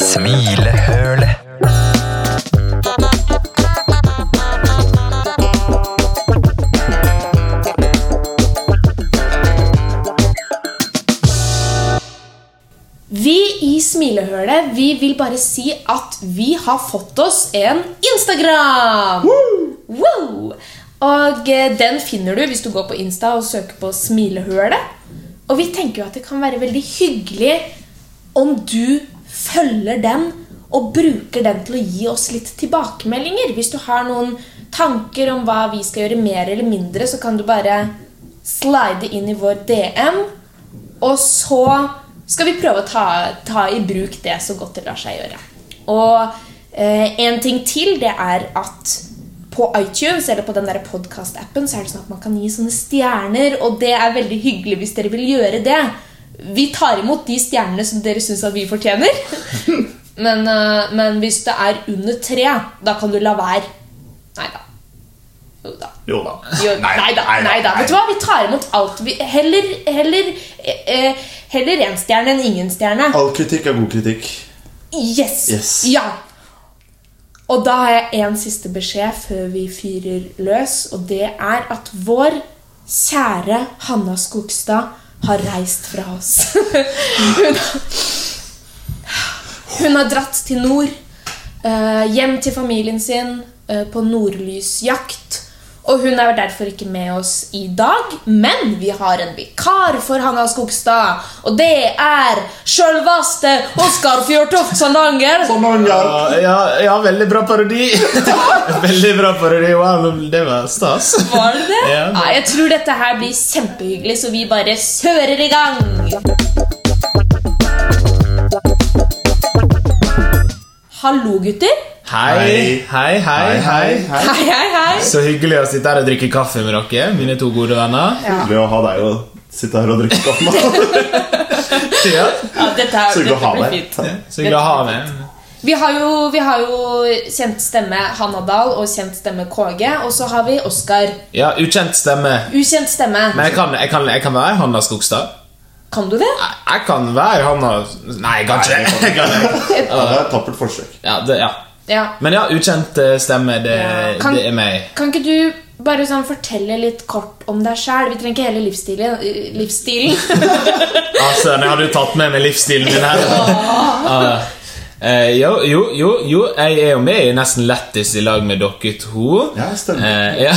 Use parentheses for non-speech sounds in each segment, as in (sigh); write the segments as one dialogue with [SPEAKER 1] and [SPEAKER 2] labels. [SPEAKER 1] Smilehølet.
[SPEAKER 2] Vi i Smilehølet vi vil bare si at vi har fått oss en Instagram! Wow! Og eh, den finner du hvis du går på Insta og søker på Smilehølet. Og vi tenker jo at det kan være veldig hyggelig om du følger den og bruker den til å gi oss litt tilbakemeldinger. Hvis du har noen tanker om hva vi skal gjøre mer eller mindre, så kan du bare slide inn i vår DM. Og så skal vi prøve å ta, ta i bruk det så godt det lar seg gjøre. Og eh, en ting til, det er at på iTunes eller på den der podcast-appen så er det sånn at man kan gi sånne stjerner, og det er veldig hyggelig hvis dere vil gjøre det. Vi tar imot de stjernene som dere syns at vi fortjener. (laughs) men, eh, men hvis det er under tre, da kan du la være. Nei da. Jo da.
[SPEAKER 3] Jo da.
[SPEAKER 2] Jo, nei, da, nei, da. Vet du hva? Vi tar imot alt. Vi, heller, heller, eh, eh, heller én stjerne enn ingen stjerne.
[SPEAKER 3] All kritikk er god kritikk.
[SPEAKER 2] Yes!
[SPEAKER 3] Yes.
[SPEAKER 2] Ja! Og da har jeg en siste beskjed før vi fyrer løs, og det er at vår kjære Hanna Skogstad har reist fra oss. (laughs) hun, hun har dratt til nord, eh, hjem til familien sin, eh, på nordlysjakt. Og hun er derfor ikke med oss i dag, men vi har en vikar for Hanna Skogstad. Og det er sjølvaste Oskar Fjørtoft Sandanger.
[SPEAKER 3] Ja, ja, ja, veldig bra parodi. (laughs) veldig bra parodi. Wow, det var stas.
[SPEAKER 2] Var det det?
[SPEAKER 3] Ja.
[SPEAKER 2] Nei, jeg tror dette her blir kjempehyggelig, så vi bare kjører i gang! Hallo, gutter.
[SPEAKER 3] Hei, hei, hei, hei.
[SPEAKER 2] Hei, hei, hei.
[SPEAKER 3] Så hyggelig å sitte her og drikke kaffe med dere, mine to gode venner.
[SPEAKER 4] Hyggelig å ha deg og sitte her og drikke
[SPEAKER 2] (laughs)
[SPEAKER 4] kaffe.
[SPEAKER 3] Ja.
[SPEAKER 2] Ja, dette, er-
[SPEAKER 4] Så hyggelig å ha
[SPEAKER 2] dette blir
[SPEAKER 4] deg.
[SPEAKER 2] fint.
[SPEAKER 3] Så hyggelig å ha med.
[SPEAKER 2] Vi har, jo, vi har jo kjent stemme Hanna Dahl og kjent stemme KG, og så har vi Oskar.
[SPEAKER 3] Ja, ukjent stemme.
[SPEAKER 2] Ukjent stemme.
[SPEAKER 3] Men jeg kan, jeg kan, jeg kan være Hanna Skogstad.
[SPEAKER 2] Kan du det?
[SPEAKER 3] Jeg, jeg kan være Hanna Nei, jeg kan
[SPEAKER 4] Nei,
[SPEAKER 3] ikke.
[SPEAKER 4] jeg
[SPEAKER 3] Jeg kan ikke.
[SPEAKER 4] Ja, det er et tappert forsøk.
[SPEAKER 3] (laughs) Ja, det, ja.
[SPEAKER 2] Ja.
[SPEAKER 3] Men ja, ukjent eh, stemme, det,
[SPEAKER 2] Ja, kan-
[SPEAKER 3] det er meg.
[SPEAKER 2] Kan ikke du bare sånn fortelle litt kort om deg sjæl? Vi trenger ikke hele livsstilen. eh, livsstilen.
[SPEAKER 3] (laughs) Altså, jeg hadde jo tatt med meg livsstilen min her. Ah. Eh, jo, jo, jo, jo, jeg er jo med i Nesten lættis i lag med dere to.
[SPEAKER 4] Ja, stemmer.
[SPEAKER 3] Eh, ja.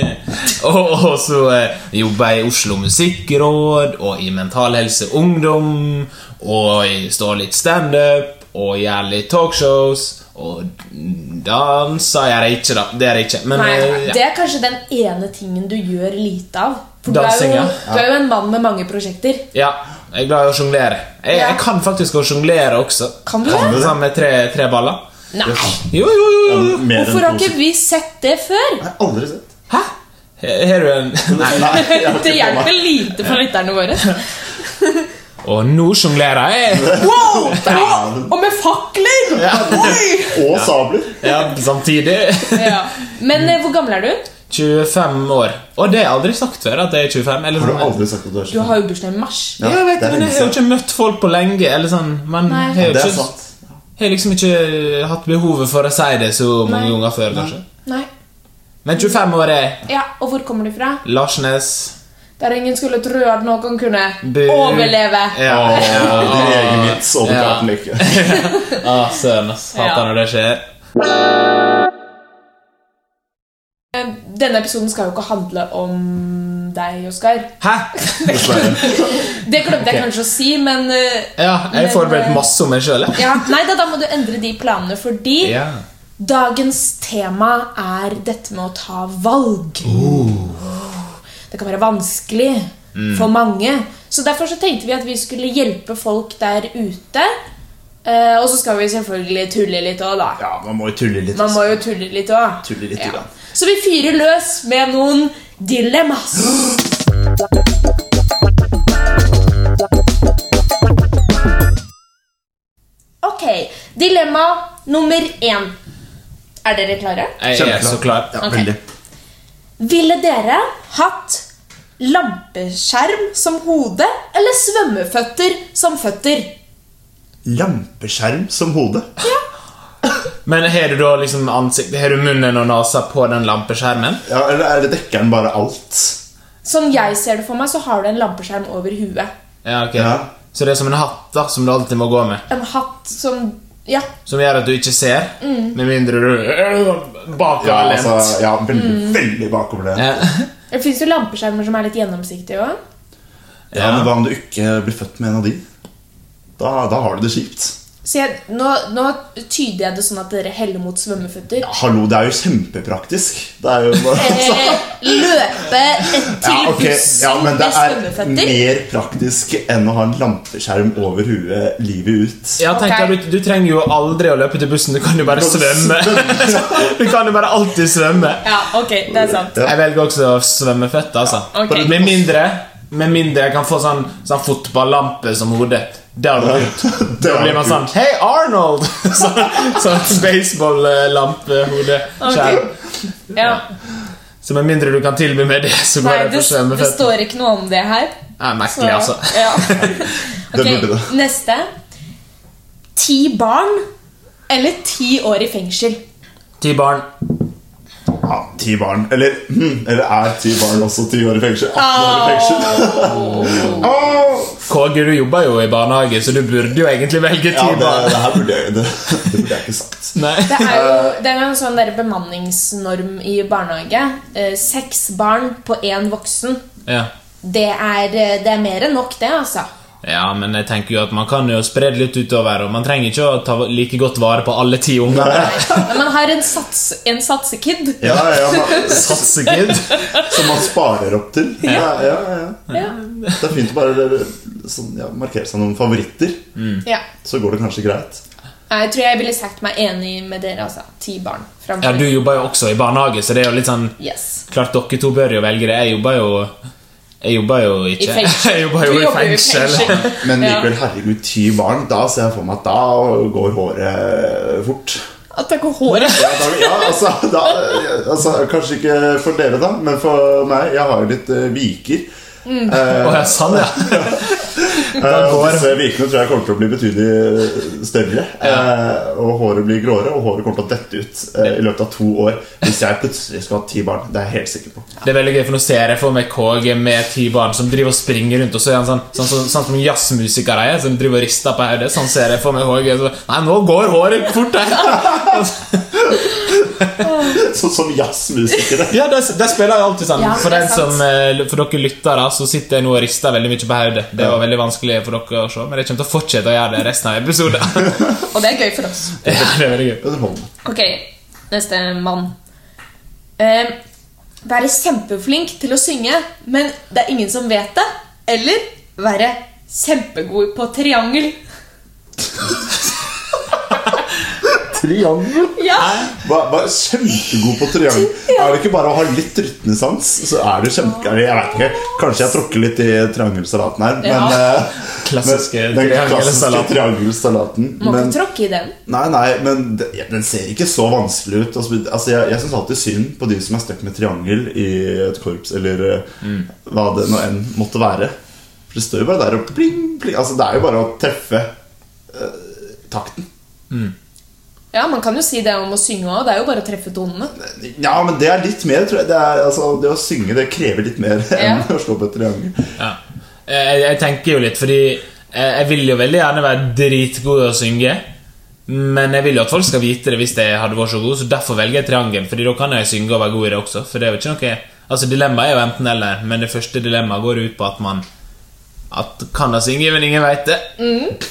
[SPEAKER 3] (laughs) og, og så eh, jobber jeg i Oslo Musikkråd og i Mental Helse Ungdom. Og jeg står litt standup og gjør litt talkshows. Og danser gjør jeg ikke, da. Det gjør jeg ikke. Men
[SPEAKER 2] Nei,
[SPEAKER 3] eh, ja.
[SPEAKER 2] det er kanskje den ene tingen du gjør lite av. For
[SPEAKER 3] Dansing,
[SPEAKER 2] du, er
[SPEAKER 3] ja.
[SPEAKER 2] jo, du er jo en mann med mange prosjekter.
[SPEAKER 3] ja, jeg er glad i å sjonglere. Jeg,
[SPEAKER 2] Ja.
[SPEAKER 3] jeg kan faktisk å sjonglere også.
[SPEAKER 2] Kan du det?
[SPEAKER 3] Sammen med tre, tre baller.
[SPEAKER 2] Nei,
[SPEAKER 3] Jo, jo, jo, jo. jo.
[SPEAKER 4] Mer
[SPEAKER 2] Hvorfor har
[SPEAKER 4] to
[SPEAKER 2] ikke vi sett det før?
[SPEAKER 4] Jeg har aldri sett.
[SPEAKER 3] Hæ? Har du
[SPEAKER 2] (laughs)
[SPEAKER 3] en
[SPEAKER 4] Nei, jeg har ikke
[SPEAKER 2] Det
[SPEAKER 4] på meg.
[SPEAKER 2] hjelper lite for lytterne våre.
[SPEAKER 3] Og nå sjonglerer jeg!
[SPEAKER 2] Wow! Og med fakler! Oi!
[SPEAKER 4] Og sabler.
[SPEAKER 3] Ja, samtidig.
[SPEAKER 2] Ja. Men eh, hvor gammel er du?
[SPEAKER 3] 25 år. Og det har jeg aldri sagt før. at jeg er 25 eller
[SPEAKER 4] Har du
[SPEAKER 3] sånn.
[SPEAKER 4] aldri sagt at du er
[SPEAKER 2] Du
[SPEAKER 4] sånn?
[SPEAKER 2] har jo bursdag i mars.
[SPEAKER 4] Ja,
[SPEAKER 3] Jeg vet
[SPEAKER 4] det er
[SPEAKER 3] men
[SPEAKER 4] lenge
[SPEAKER 3] jeg har jo
[SPEAKER 4] siden.
[SPEAKER 3] ikke møtt folk på lenge. eller sånn. Men
[SPEAKER 2] Nei.
[SPEAKER 3] jeg har jo
[SPEAKER 4] Det er
[SPEAKER 3] ikke,
[SPEAKER 4] sant.
[SPEAKER 3] jeg har liksom ikke hatt behovet for å si det så mange
[SPEAKER 2] Nei.
[SPEAKER 3] ganger før. kanskje.
[SPEAKER 2] Nei.
[SPEAKER 3] Men 25 år er
[SPEAKER 2] Ja, Og hvor kommer du fra?
[SPEAKER 3] Larsnes.
[SPEAKER 2] Der ingen skulle tro at noen kunne
[SPEAKER 3] Bu-
[SPEAKER 2] overleve.
[SPEAKER 3] Ja,
[SPEAKER 4] Åh,
[SPEAKER 3] ja.
[SPEAKER 4] Din egen vits og du
[SPEAKER 3] Ja.
[SPEAKER 4] klarte den ikke.
[SPEAKER 3] (laughs) Ah, Søren, ass. Hater
[SPEAKER 2] Ja.
[SPEAKER 3] når det skjer.
[SPEAKER 2] Eh, Denne episoden skal jo ikke handle om deg, Oskar.
[SPEAKER 3] Hæ?
[SPEAKER 4] Dessverre.
[SPEAKER 2] Det glemte jeg kanskje å si, men eh,
[SPEAKER 3] Ja, jeg
[SPEAKER 2] Men,
[SPEAKER 3] har forberedt
[SPEAKER 2] eh,
[SPEAKER 3] masse om meg sjøl.
[SPEAKER 2] ja, Nei da, da må du endre de planene, fordi
[SPEAKER 3] Ja.
[SPEAKER 2] dagens tema er dette med å ta valg. Det kan være vanskelig for mange. Så derfor så tenkte vi at vi skulle hjelpe folk der ute. eh, og så skal vi selvfølgelig tulle litt òg, da.
[SPEAKER 4] Ja, man må jo tulle litt.
[SPEAKER 2] Man må jo tulle litt òg.
[SPEAKER 4] Tulle litt grann.
[SPEAKER 2] Så vi fyrer løs med noen dilemmas. Ok, dilemma nummer én. Er dere klare?
[SPEAKER 3] Jeg er så klar.
[SPEAKER 4] Ja,
[SPEAKER 2] Ok.
[SPEAKER 4] veldig.
[SPEAKER 2] Ville dere hatt lampeskjerm som hode eller svømmeføtter som føtter?
[SPEAKER 4] Lampeskjerm som hode.
[SPEAKER 3] Men har du da liksom ansikt, har du munnen og nesa på den lampeskjermen?
[SPEAKER 4] Ja, eller er det dekker den bare alt?
[SPEAKER 2] Som jeg ser det for meg, så har du en lampeskjerm over huet.
[SPEAKER 3] Ja, ok.
[SPEAKER 4] Ja.
[SPEAKER 3] Så det er som en hatt da, som du alltid må gå med.
[SPEAKER 2] En hatt som Ja.
[SPEAKER 3] Som gjør at du ikke ser,
[SPEAKER 2] Mm.
[SPEAKER 3] med mindre du øh,
[SPEAKER 4] Ja,
[SPEAKER 3] bakoverlent.
[SPEAKER 4] altså, ja veldig,
[SPEAKER 2] Mm.
[SPEAKER 4] veldig bakoverlent.
[SPEAKER 3] Ja.
[SPEAKER 2] Det fins jo lampeskjermer som er litt gjennomsiktige òg.
[SPEAKER 4] Ja, men hva om du ikke blir født med en av de? Da, da har du det kjipt.
[SPEAKER 2] Så jeg, nå, nå tyder jeg det sånn at dere heller mot svømmeføtter.
[SPEAKER 4] Hallo, det er jo kjempepraktisk.
[SPEAKER 3] (laughs)
[SPEAKER 4] Det er jo bare altså.
[SPEAKER 2] (laughs) Eh, løpe til
[SPEAKER 4] ja, ok.
[SPEAKER 2] bussen
[SPEAKER 4] ja, men det
[SPEAKER 2] med
[SPEAKER 4] er
[SPEAKER 2] svømmeføtter.
[SPEAKER 4] mer praktisk enn å ha en lampeskjerm over huet livet ut.
[SPEAKER 3] Ja, tenk
[SPEAKER 2] Ok.
[SPEAKER 3] deg, du, du trenger jo aldri å løpe til bussen, du kan jo bare svømme. (laughs) Du kan jo bare alltid svømme.
[SPEAKER 2] Ja, ok, det er sant.
[SPEAKER 4] Ja.
[SPEAKER 3] Jeg velger også svømmeføtt, altså.
[SPEAKER 2] Ok.
[SPEAKER 3] Med mindre Med mindre jeg kan få sånn, sånn fotballampe som hode. Der går det ut.
[SPEAKER 4] (laughs) Det
[SPEAKER 3] Da
[SPEAKER 4] er
[SPEAKER 3] blir man sånn Hei, Arnold! (laughs) Sånn, sånn baseball-lampehode. skjerm.
[SPEAKER 2] Ja.
[SPEAKER 3] Så med mindre du kan tilby meg det, så
[SPEAKER 2] Nei,
[SPEAKER 3] går jeg
[SPEAKER 2] det,
[SPEAKER 3] for
[SPEAKER 2] det
[SPEAKER 3] svømmeføtt.
[SPEAKER 2] står ikke noe om det her.
[SPEAKER 3] Det er merkelig, altså.
[SPEAKER 2] Ja.
[SPEAKER 4] (laughs) Det
[SPEAKER 2] Ok,
[SPEAKER 4] burde det.
[SPEAKER 2] neste. Ti barn eller ti år i fengsel?
[SPEAKER 3] Ti barn.
[SPEAKER 4] Ja, ti barn. Eller, hm, eller er ti barn også ti år i fengsel? 18 år i
[SPEAKER 3] (laughs)
[SPEAKER 4] fengsel. Åh!
[SPEAKER 3] KG, du jobber jo i barnehage, så du burde jo egentlig velge ti
[SPEAKER 4] Ja, det,
[SPEAKER 3] barn.
[SPEAKER 4] det her burde jeg, det, (laughs) det burde jeg ikke sagt.
[SPEAKER 3] (laughs) Nei.
[SPEAKER 2] Det er jo
[SPEAKER 4] Eh.
[SPEAKER 2] det er jo en sånn der bemanningsnorm i barnehage. Eh, Seks barn på én voksen.
[SPEAKER 3] Ja.
[SPEAKER 2] Det er, eh, det er mer enn nok, det, altså.
[SPEAKER 3] Ja, men jeg tenker jo at man kan jo spre det litt utover, og man trenger ikke å ta like godt vare på alle ti (laughs) ungene.
[SPEAKER 2] Men man har en, sats, en satsekid.
[SPEAKER 4] Ja, ja, man,
[SPEAKER 3] Satsekid.
[SPEAKER 4] som man sparer opp til. Ja, ja, ja.
[SPEAKER 2] Ja.
[SPEAKER 4] Det er fint å bare sånn, ja, markere seg noen favoritter.
[SPEAKER 2] Ja.
[SPEAKER 4] Så går det kanskje greit.
[SPEAKER 2] Jeg tror jeg ville sagt meg enig med dere, altså. Ti barn.
[SPEAKER 3] Ja,
[SPEAKER 2] Framfor.
[SPEAKER 3] du jobber jo også i barnehage, så det er jo litt sånn
[SPEAKER 2] Yes.
[SPEAKER 3] Klart dere to bør jo velge det. Jeg jobber jo Jeg jobber jo
[SPEAKER 2] I
[SPEAKER 3] ikke.
[SPEAKER 2] fengsel.
[SPEAKER 3] (laughs) Jeg jobber jo
[SPEAKER 2] Du
[SPEAKER 3] i fengsel.
[SPEAKER 4] Men
[SPEAKER 2] Ja.
[SPEAKER 4] likevel, herregud, ti barn. Da ser jeg for meg at da går håret fort.
[SPEAKER 2] At det går håret.
[SPEAKER 4] Ja, da, ja altså, da, altså Kanskje ikke for dere, da, men for meg. Jeg har jo litt eh, viker.
[SPEAKER 3] (laughs) Å ja, sånn, ja.
[SPEAKER 4] Eh, og
[SPEAKER 3] går-
[SPEAKER 4] disse vikene tror jeg kommer til å bli betydelig større. eh, Og håret blir gråere, og håret kommer til å dette ut eh, i løpet av to år. Hvis jeg plutselig skal ha ti barn. Det er jeg helt sikker på. (laughs)
[SPEAKER 3] Det er veldig gøy, for nå ser jeg for meg KG med ti barn som driver og springer rundt, og så er han sånn, sånn, sånn, sånn som jazzmusikere er, som driver og rister på hodet. Sånn ser jeg for meg KG. Så, nei, nå går håret fort her! (laughs)
[SPEAKER 4] Sånn som jazzmusikere.
[SPEAKER 3] Ja, det, det spiller jeg alltid sånn.
[SPEAKER 2] Ja,
[SPEAKER 3] for,
[SPEAKER 2] det er
[SPEAKER 3] den
[SPEAKER 2] sant.
[SPEAKER 3] som, eh, for dere lyttere så sitter jeg nå og rister veldig mye på hodet. Det var veldig vanskelig for dere å se, men jeg kommer til å fortsette å gjøre det resten av episoden. (laughs)
[SPEAKER 2] Og det er gøy for oss.
[SPEAKER 3] ja, det er veldig gøy.
[SPEAKER 4] Underholdende.
[SPEAKER 2] Ok, neste mann. Eh, være kjempeflink til å synge, men det er ingen som vet det. Eller være kjempegod på triangel.
[SPEAKER 4] Triangel.
[SPEAKER 2] Ja,
[SPEAKER 4] Hva- hva- Kjempegod på triangel. Er det ikke bare å ha litt rytmesans, så er du kjempe... eller Jeg vet ikke, Kanskje jeg tråkker litt i triangelsalaten her, men,
[SPEAKER 2] Ja.
[SPEAKER 4] eh,
[SPEAKER 3] Klassiske
[SPEAKER 4] men den klassiske
[SPEAKER 3] triangelsalaten.
[SPEAKER 4] triangelsalaten.
[SPEAKER 2] Må
[SPEAKER 4] Men,
[SPEAKER 2] ikke tråkke i den.
[SPEAKER 4] nei, nei, men d- ja, den ser ikke så vanskelig ut. Altså, altså, jeg jeg syns alltid synd på de som er stuck med triangel i et korps, eller eh,
[SPEAKER 3] Mm.
[SPEAKER 4] hva det nå enn måtte være. For det står jo bare der og pling, pling. Altså, det er jo bare å treffe eh, takten.
[SPEAKER 2] Ja, Man kan jo si det om å synge òg. Det er jo bare å treffe tonene.
[SPEAKER 4] Ja, men det er litt mer, tror jeg. Det, er, altså, det å synge det krever litt mer (laughs) enn
[SPEAKER 2] Ja.
[SPEAKER 4] å slå på et triangel.
[SPEAKER 3] Ja. Eh, Jeg, jeg tenker jo litt, fordi eh, jeg vil jo veldig gjerne være dritgod til å synge. Men jeg vil jo at folk skal vite det hvis jeg hadde vært så god, så derfor velger jeg triangel. Fordi da kan jeg synge og være god i det også. For det er jo ikke noe Altså Dilemmaet er jo enten-eller, men det første dilemmaet går ut på at man At kan jeg synge, men ingen veit det.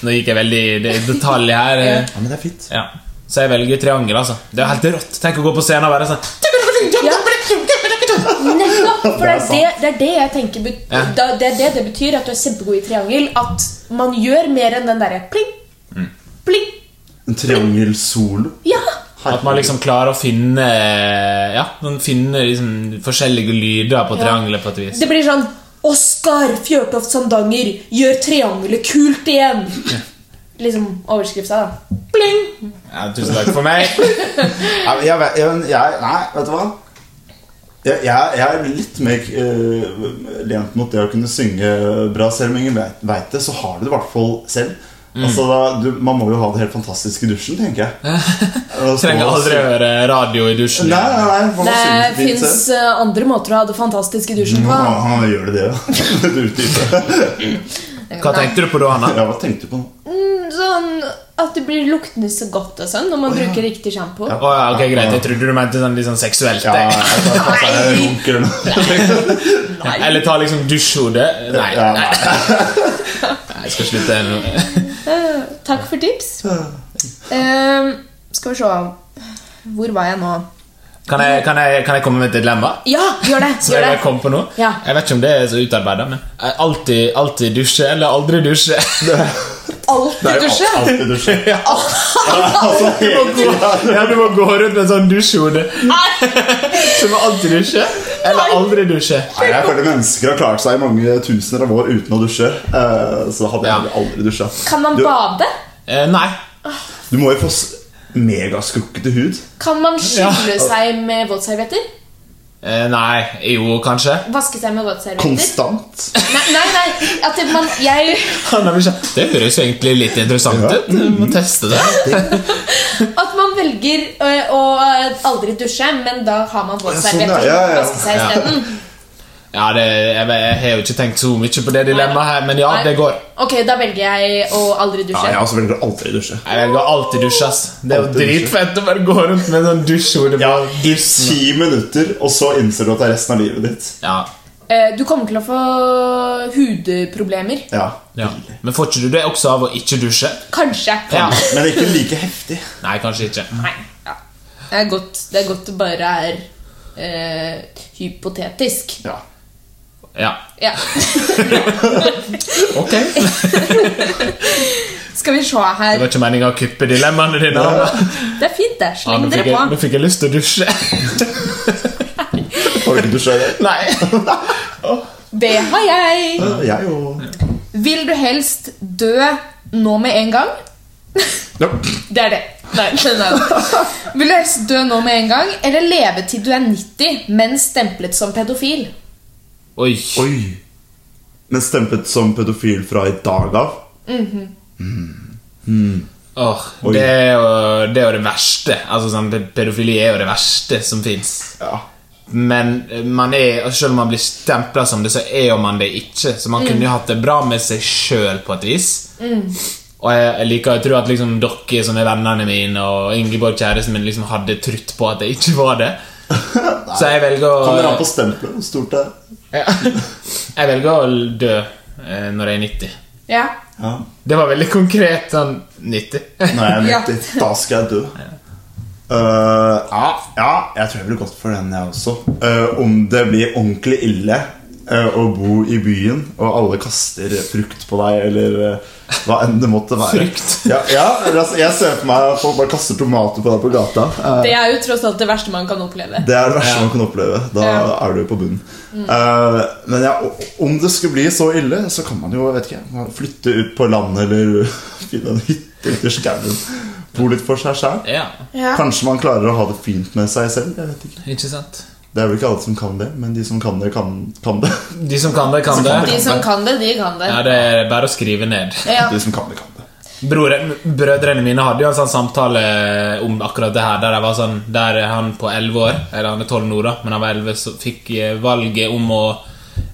[SPEAKER 3] Nå gikk jeg veldig i det- i detalj her. eh.
[SPEAKER 4] Ja, men det er fint.
[SPEAKER 3] Ja. Så jeg velger triangel, altså. Det er jo helt rått. Tenk å gå på scenen og være sånn
[SPEAKER 2] Ja. Nettopp! For det er det, det er det jeg tenker bet-
[SPEAKER 3] Ja.
[SPEAKER 2] da- Det er det det betyr at du er kjempegod i triangel. At man gjør mer enn den derre pling, pling.
[SPEAKER 4] En triangelsolo.
[SPEAKER 2] Ja!
[SPEAKER 3] At man liksom klarer å finne eh, Ja, man finner liksom forskjellige lyder på triangelet på et vis.
[SPEAKER 2] Det blir sånn Oskar Fjørtoft Sandanger gjør triangelet kult igjen! Liksom overskrifta, da. Bling!
[SPEAKER 3] (laughs) Ja, tusen takk for meg.
[SPEAKER 4] Nei, men jeg, vet- jeg, jeg, nei, vet du hva? Jeg, jeg, jeg er litt mer eh, lent mot det å kunne synge bra, selv om ingen vet, vet det. Så har du det i hvert fall selv.
[SPEAKER 3] Mm.
[SPEAKER 4] Altså, da, du, man må jo ha det helt fantastisk i dusjen, tenker jeg. Og
[SPEAKER 3] (laughs)
[SPEAKER 4] så-
[SPEAKER 3] Trenger aldri høre radio i dusjen.
[SPEAKER 4] Nei, nei, nei. Man må
[SPEAKER 2] Det
[SPEAKER 4] synge det fint
[SPEAKER 2] fins
[SPEAKER 4] selv.
[SPEAKER 2] andre måter å ha det fantastisk i dusjen på.
[SPEAKER 4] Ja, (laughs) han gjør det, det, da. Du utdyper.
[SPEAKER 3] Hva teengte du på da, Hanna?
[SPEAKER 4] Ja, hva tenkte du på nå?
[SPEAKER 2] Sånn at det blir luktende så godt og sånn når man bruker riktig sjampo.
[SPEAKER 3] Å ja, ok, greit. Jeg trodde du mente sånn litt sånn seksuelt.
[SPEAKER 4] Ja, jeg tar- tar seg en
[SPEAKER 2] Nei.
[SPEAKER 4] runk eller noe.
[SPEAKER 3] Eller ta liksom dusjhodet. Nei.
[SPEAKER 4] Ja,
[SPEAKER 3] nei.
[SPEAKER 4] nei.
[SPEAKER 3] Jeg skal slutte nå.
[SPEAKER 2] Eh, Takk for tips. Eh, skal vi se Hvor var jeg nå?
[SPEAKER 3] Kan jeg, kan, jeg, kan jeg komme med et dilemma?
[SPEAKER 2] Ja, gjør det!
[SPEAKER 3] (laughs) Som
[SPEAKER 2] Gjør
[SPEAKER 3] jeg bare
[SPEAKER 2] det.
[SPEAKER 3] kom på nå?
[SPEAKER 2] Ja.
[SPEAKER 3] Jeg vet ikke om det er så utarbeidet, men jeg alltid, alltid dusje eller aldri dusje. (laughs)
[SPEAKER 4] Det er
[SPEAKER 2] Alltid
[SPEAKER 4] jo
[SPEAKER 2] dusje!
[SPEAKER 4] al- alltid dusje. Ja, altså, hele tiden.
[SPEAKER 3] Ja, du må gå rundt med sånn dusjhode. Så du må alltid dusje eller aldri dusje.
[SPEAKER 4] Nei, jeg føler mennesker har klart seg i mange tusener av år uten å dusje. eh, Så hadde jeg
[SPEAKER 3] Ja.
[SPEAKER 4] heller aldri dusja.
[SPEAKER 2] Kan man
[SPEAKER 4] Du-
[SPEAKER 2] bade?
[SPEAKER 3] Eh, nei.
[SPEAKER 4] Du må jo få s- megaskrukkete hud.
[SPEAKER 2] Kan man skylle
[SPEAKER 3] Ja.
[SPEAKER 2] seg med våtservietter?
[SPEAKER 3] Eh, nei. Jo, kanskje.
[SPEAKER 2] Vaske seg med våtservietter?
[SPEAKER 4] Konstant.
[SPEAKER 2] Nei, nei, nei. At det, man, jeg
[SPEAKER 3] Han har vel sagt, Det høres jo egentlig litt interessant ut. Du må teste det.
[SPEAKER 2] At man velger ø, å øh, aldri dusje, men da har man
[SPEAKER 4] Ja,
[SPEAKER 2] våtservietter
[SPEAKER 4] sånn, ja, ja, ja.
[SPEAKER 2] og vasker seg
[SPEAKER 3] Ja.
[SPEAKER 2] isteden.
[SPEAKER 3] Ja, det, jeg, jeg har jo ikke tenkt så mye på det dilemmaet her, men ja,
[SPEAKER 2] Nei.
[SPEAKER 3] det går.
[SPEAKER 2] Ok, da velger jeg å aldri
[SPEAKER 4] Ja,
[SPEAKER 2] dusje.
[SPEAKER 4] jeg også altså, velger aldri å dusje.
[SPEAKER 3] Jeg velger alltid dusje, ass. Det er jo
[SPEAKER 4] Alltid dusje.
[SPEAKER 3] dritfett å bare gå rundt med sånn dusjhode. på.
[SPEAKER 4] I ti minutter, og så innser du at det er resten av livet ditt.
[SPEAKER 3] Ja.
[SPEAKER 2] Eh, Du kommer til å få hudproblemer.
[SPEAKER 4] Ja,
[SPEAKER 3] ja. Men får ikke du det også av å ikke dusje?
[SPEAKER 2] Kanskje.
[SPEAKER 3] Ja.
[SPEAKER 4] Men ikke like heftig.
[SPEAKER 3] Nei, kanskje ikke.
[SPEAKER 2] Nei, ja. Det er godt det, er godt det bare er eh, hypotetisk.
[SPEAKER 4] Ja.
[SPEAKER 3] Ja,
[SPEAKER 2] Ja. (laughs)
[SPEAKER 3] ok Det
[SPEAKER 2] Skal vi se her.
[SPEAKER 3] var ikke meningen å kuppe dilemmaene dine. Anna.
[SPEAKER 2] Det er fint, det.
[SPEAKER 3] Ja,
[SPEAKER 2] Sleng
[SPEAKER 3] nå, fikk
[SPEAKER 2] dere
[SPEAKER 3] jeg, nå
[SPEAKER 2] på.
[SPEAKER 3] fikk jeg lyst til å dusje. (laughs)
[SPEAKER 4] Har du ikke dusja i dag?
[SPEAKER 3] Nei.
[SPEAKER 2] Det har jeg.
[SPEAKER 4] Ja, Jeg jo
[SPEAKER 2] Vil du helst dø nå med en gang? (laughs)
[SPEAKER 4] ja.
[SPEAKER 2] Det er det. Nei, nei, nei. Vil du helst dø nå med en gang, eller leve til du er 90, men stemplet som pedofil?
[SPEAKER 3] Oi.
[SPEAKER 4] Oi. Men stemplet som pedofil fra i dag av?
[SPEAKER 3] Åh,
[SPEAKER 4] Oi.
[SPEAKER 3] det, er jo, det er jo det verste. Altså, sånn, pe- pedofili er jo det verste som fins.
[SPEAKER 4] Ja.
[SPEAKER 3] Men eh, man er, og selv om man blir stempla som det, så er jo man det ikke. Så man kunne jo hatt det bra med seg sjøl på et vis. Og jeg, jeg liker å tro at liksom dere som er vennene mine, og Ingeborg kjæresten min, liksom hadde trutt på at jeg ikke var det. Så jeg velger
[SPEAKER 4] Kan dere ha på
[SPEAKER 3] å
[SPEAKER 4] stempelet hvor stort det er?
[SPEAKER 3] Ja. (laughs) Jeg velger å dø eh, når jeg er 90.
[SPEAKER 2] Ja.
[SPEAKER 4] Ja.
[SPEAKER 3] Det var veldig konkret. Sånn 90.
[SPEAKER 4] Når jeg
[SPEAKER 2] Ja.
[SPEAKER 4] er 90, da skal jeg dø. Eh, ja, ja, jeg tror jeg ville gått for den, jeg også. Eh, om det blir ordentlig ille eh, å bo i byen, og alle kaster frukt på deg, eller eh, hva enn det måtte være.
[SPEAKER 3] Frukt?
[SPEAKER 4] Ja, ja eller altså, Jeg ser for meg at folk bare kaster tomater på deg på gata. Eh,
[SPEAKER 2] Det er jo tross alt det verste man kan oppleve.
[SPEAKER 4] det er det verste
[SPEAKER 3] Ja.
[SPEAKER 4] man kan oppleve. Da
[SPEAKER 2] Ja.
[SPEAKER 4] er du jo på bunnen. Eh, men ja, o- om det skulle bli så ille, så kan man jo vet ikke, jeg, flytte ut på landet eller (laughs) finne en hytte ute i skauen. Bo litt for seg sjæl.
[SPEAKER 3] Ja,
[SPEAKER 2] Ja.
[SPEAKER 4] Kanskje man klarer å ha det fint med seg selv. Jeg vet ikke.
[SPEAKER 3] ikke sant?
[SPEAKER 4] Det er vel ikke alle som kan det, men de som kan det, kan, kan det.
[SPEAKER 3] De som kan det, kan det.
[SPEAKER 2] De som kan det, de kan det.
[SPEAKER 3] Ja, Det er bare å skrive ned.
[SPEAKER 2] Ja.
[SPEAKER 4] De som kan det, kan det.
[SPEAKER 3] Broren, brødrene mine hadde jo en sånn samtale om akkurat det her. Der, jeg var sånn, der han på 11 år, eller han er 12 nå, da, men han var 11, så fikk eh, valget om å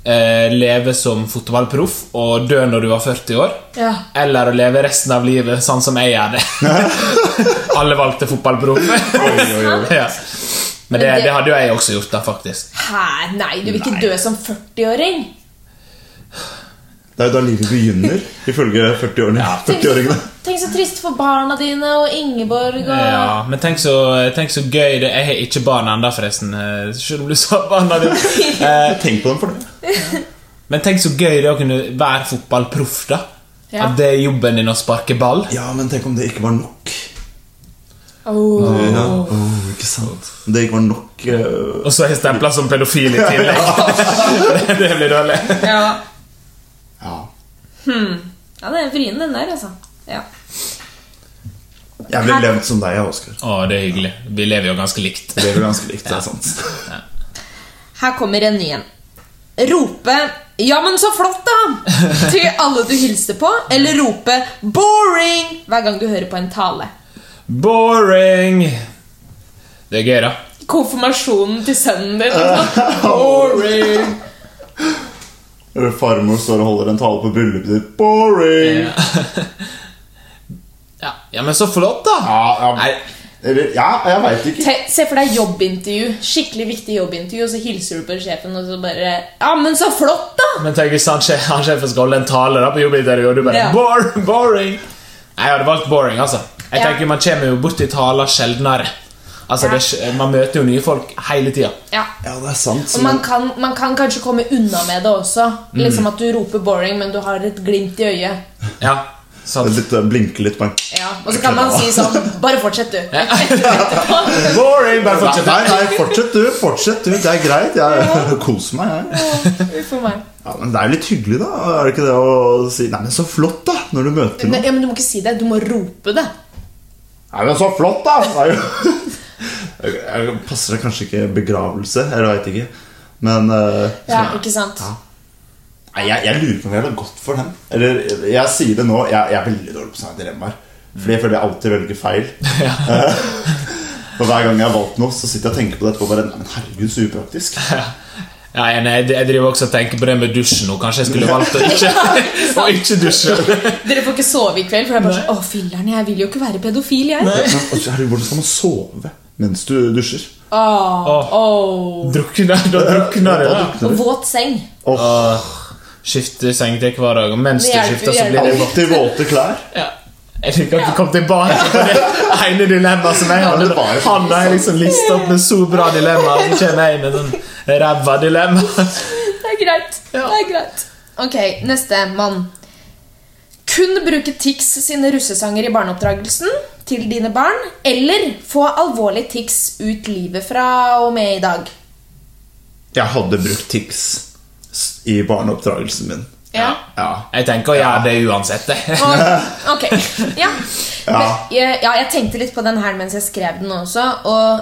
[SPEAKER 3] eh, leve som fotballproff og dø når du var 40 år.
[SPEAKER 2] Ja.
[SPEAKER 3] Eller å leve resten av livet sånn som jeg gjør det. Alle valgte fotballproff. ja. Men det,
[SPEAKER 2] Men det-
[SPEAKER 3] det hadde jo jeg også gjort, da, faktisk.
[SPEAKER 2] Hæ? Nei, du vil ikke dø som 40-åring.
[SPEAKER 4] Det er jo da livet
[SPEAKER 2] (laughs)
[SPEAKER 4] begynner, ifølge 40-åringene.
[SPEAKER 2] Tenk, så-
[SPEAKER 4] 40
[SPEAKER 2] tenk så trist for barna dine og Ingeborg og
[SPEAKER 3] Ja, men tenk så, tenk så gøy det Jeg har ikke barn ennå, forresten. eh, Selv om du sa barna dine. Eh,
[SPEAKER 4] Tenk på dem for det.
[SPEAKER 3] Men tenk så gøy det er å kunne være fotballproff, da.
[SPEAKER 2] Ja.
[SPEAKER 3] At det er jobben din å sparke ball.
[SPEAKER 4] Ja, men tenk om det ikke var nok.
[SPEAKER 2] Åh.
[SPEAKER 4] Ja. Oh, ikke sant? Om det ikke var nok eh,
[SPEAKER 3] Og så er jeg stempla som pedofil i tillegg. det blir dårlig.
[SPEAKER 2] Ja.
[SPEAKER 4] Ja.
[SPEAKER 2] ja, det er vrien, den der, altså. Ja.
[SPEAKER 4] Jeg ville levd som deg, Oskar.
[SPEAKER 3] Å, det er hyggelig. Vi lever jo ganske likt.
[SPEAKER 4] Det er jo ganske likt, det er sant.
[SPEAKER 2] Her kommer en ny en. Rope 'Ja, men så flott', da! til alle du hilser på, eller rope 'boring' hver gang du hører på en tale.
[SPEAKER 3] Boring! Det er gøy, da.
[SPEAKER 2] Konfirmasjonen til sønnen din. altså.
[SPEAKER 3] Boring!
[SPEAKER 4] Eller farmor står og holder en tale på bryllupet ditt. Boring!
[SPEAKER 3] Ja. (laughs) ja. ja, men så flott, da!
[SPEAKER 4] Ja, ja.
[SPEAKER 3] Nei,
[SPEAKER 4] Eller Ja, jeg veit ikke.
[SPEAKER 2] Te- Se for deg jobbintervju. Skikkelig viktig jobbintervju, og så hilser du på sjefen, og så bare 'Ja, men så flott, da!'
[SPEAKER 3] men tenk hvis han, sje- han sjefen skal holde en tale da på jobbintervjuet, og du bare
[SPEAKER 2] Ja.
[SPEAKER 3] Bor (laughs) Boring! Nei, Jeg hadde valgt boring, altså. Jeg
[SPEAKER 2] Ja.
[SPEAKER 3] tenker Man kommer jo borti taler sjeldnere. Altså,
[SPEAKER 2] Ja.
[SPEAKER 3] det, er sj- Man møter jo nye folk hele tida.
[SPEAKER 2] Ja.
[SPEAKER 4] Ja, det er sant.
[SPEAKER 2] Og man kan, man kan kanskje komme unna med det også. Liksom at du roper 'boring', men du har et glimt i øyet.
[SPEAKER 3] Ja, sant.
[SPEAKER 4] litt, blinke litt på en
[SPEAKER 2] Ja, Og så kan man si sånn 'Bare fortsett, du'.
[SPEAKER 3] Boring! Bare
[SPEAKER 4] Nei,
[SPEAKER 3] fortsett.
[SPEAKER 4] nei, nei, fortsett du. Fortsett du. Det er greit. Jeg (laughs) koser meg, jeg.
[SPEAKER 2] For meg.
[SPEAKER 4] Ja, men det er jo litt hyggelig, da. Er det ikke det å si Nei, men så flott, da! Når du møter
[SPEAKER 2] Nei,
[SPEAKER 4] noen.
[SPEAKER 2] ja, men du må ikke si det. Du må rope det.
[SPEAKER 4] Nei, men så flott, da! Det er jo Jeg- jeg- Passer det kanskje ikke begravelse? Jeg veit ikke. Men eh,
[SPEAKER 2] Ja, ikke sant?
[SPEAKER 4] Nei, jeg, jeg lurer på om jeg hadde gått for den. Eller jeg sier det nå, jeg, jeg er veldig dårlig på sånne dilemmaer. Fordi jeg føler jeg alltid velger (laughs) feil. og hver gang jeg har valgt noe, så sitter jeg og tenker på dette og bare Nei, men herregud, så upraktisk.
[SPEAKER 3] Ja, jeg- nei, jeg driver også og tenker på det med dusj nå. Kanskje jeg skulle valgt å
[SPEAKER 2] (laughs)
[SPEAKER 3] ikke, (laughs) å ikke dusje. (laughs)
[SPEAKER 2] Dere får ikke sove i kveld, for det er bare sånn 'Å, filler'n, jeg vil jo ikke være pedofil, jeg'.
[SPEAKER 4] Men, altså, herregud, hvordan skal man sove mens du dusjer?
[SPEAKER 2] Åh,
[SPEAKER 3] Åh.
[SPEAKER 2] åh.
[SPEAKER 3] Drukner, da drukner det.
[SPEAKER 4] Da
[SPEAKER 3] da.
[SPEAKER 4] drukner du.
[SPEAKER 2] Våt seng.
[SPEAKER 4] Åh,
[SPEAKER 3] Skifte seng til hver dag, og mens
[SPEAKER 2] Det
[SPEAKER 3] du
[SPEAKER 2] hjelper-
[SPEAKER 3] skifter, så blir det
[SPEAKER 2] hjelper.
[SPEAKER 4] alltid våte klær.
[SPEAKER 3] ja. Jeg liker at du kom tilbake på det
[SPEAKER 4] (laughs)
[SPEAKER 3] ene dilemmaet som jeg
[SPEAKER 4] Ja, det
[SPEAKER 3] hadde.
[SPEAKER 4] var jo
[SPEAKER 3] Han har jeg liksom lista opp med så bra dilemma, og så kommer jeg med sånn ræva dilemma.
[SPEAKER 2] (laughs) Det er greit. Det er greit. Ok, neste mann. Kun bruke Tix sine russesanger i barneoppdragelsen til dine barn, eller få alvorlig Tix ut livet fra og med i dag.
[SPEAKER 4] Jeg hadde brukt Tix s- i barneoppdragelsen min.
[SPEAKER 2] Ja.
[SPEAKER 4] Ja.
[SPEAKER 3] Jeg tenker å gjøre det uansett. jeg.
[SPEAKER 2] Og-
[SPEAKER 3] (laughs)
[SPEAKER 2] Ok, ja.
[SPEAKER 4] Ja.
[SPEAKER 2] Men Jeg, ja. Jeg tenkte litt på den her mens jeg skrev den også, og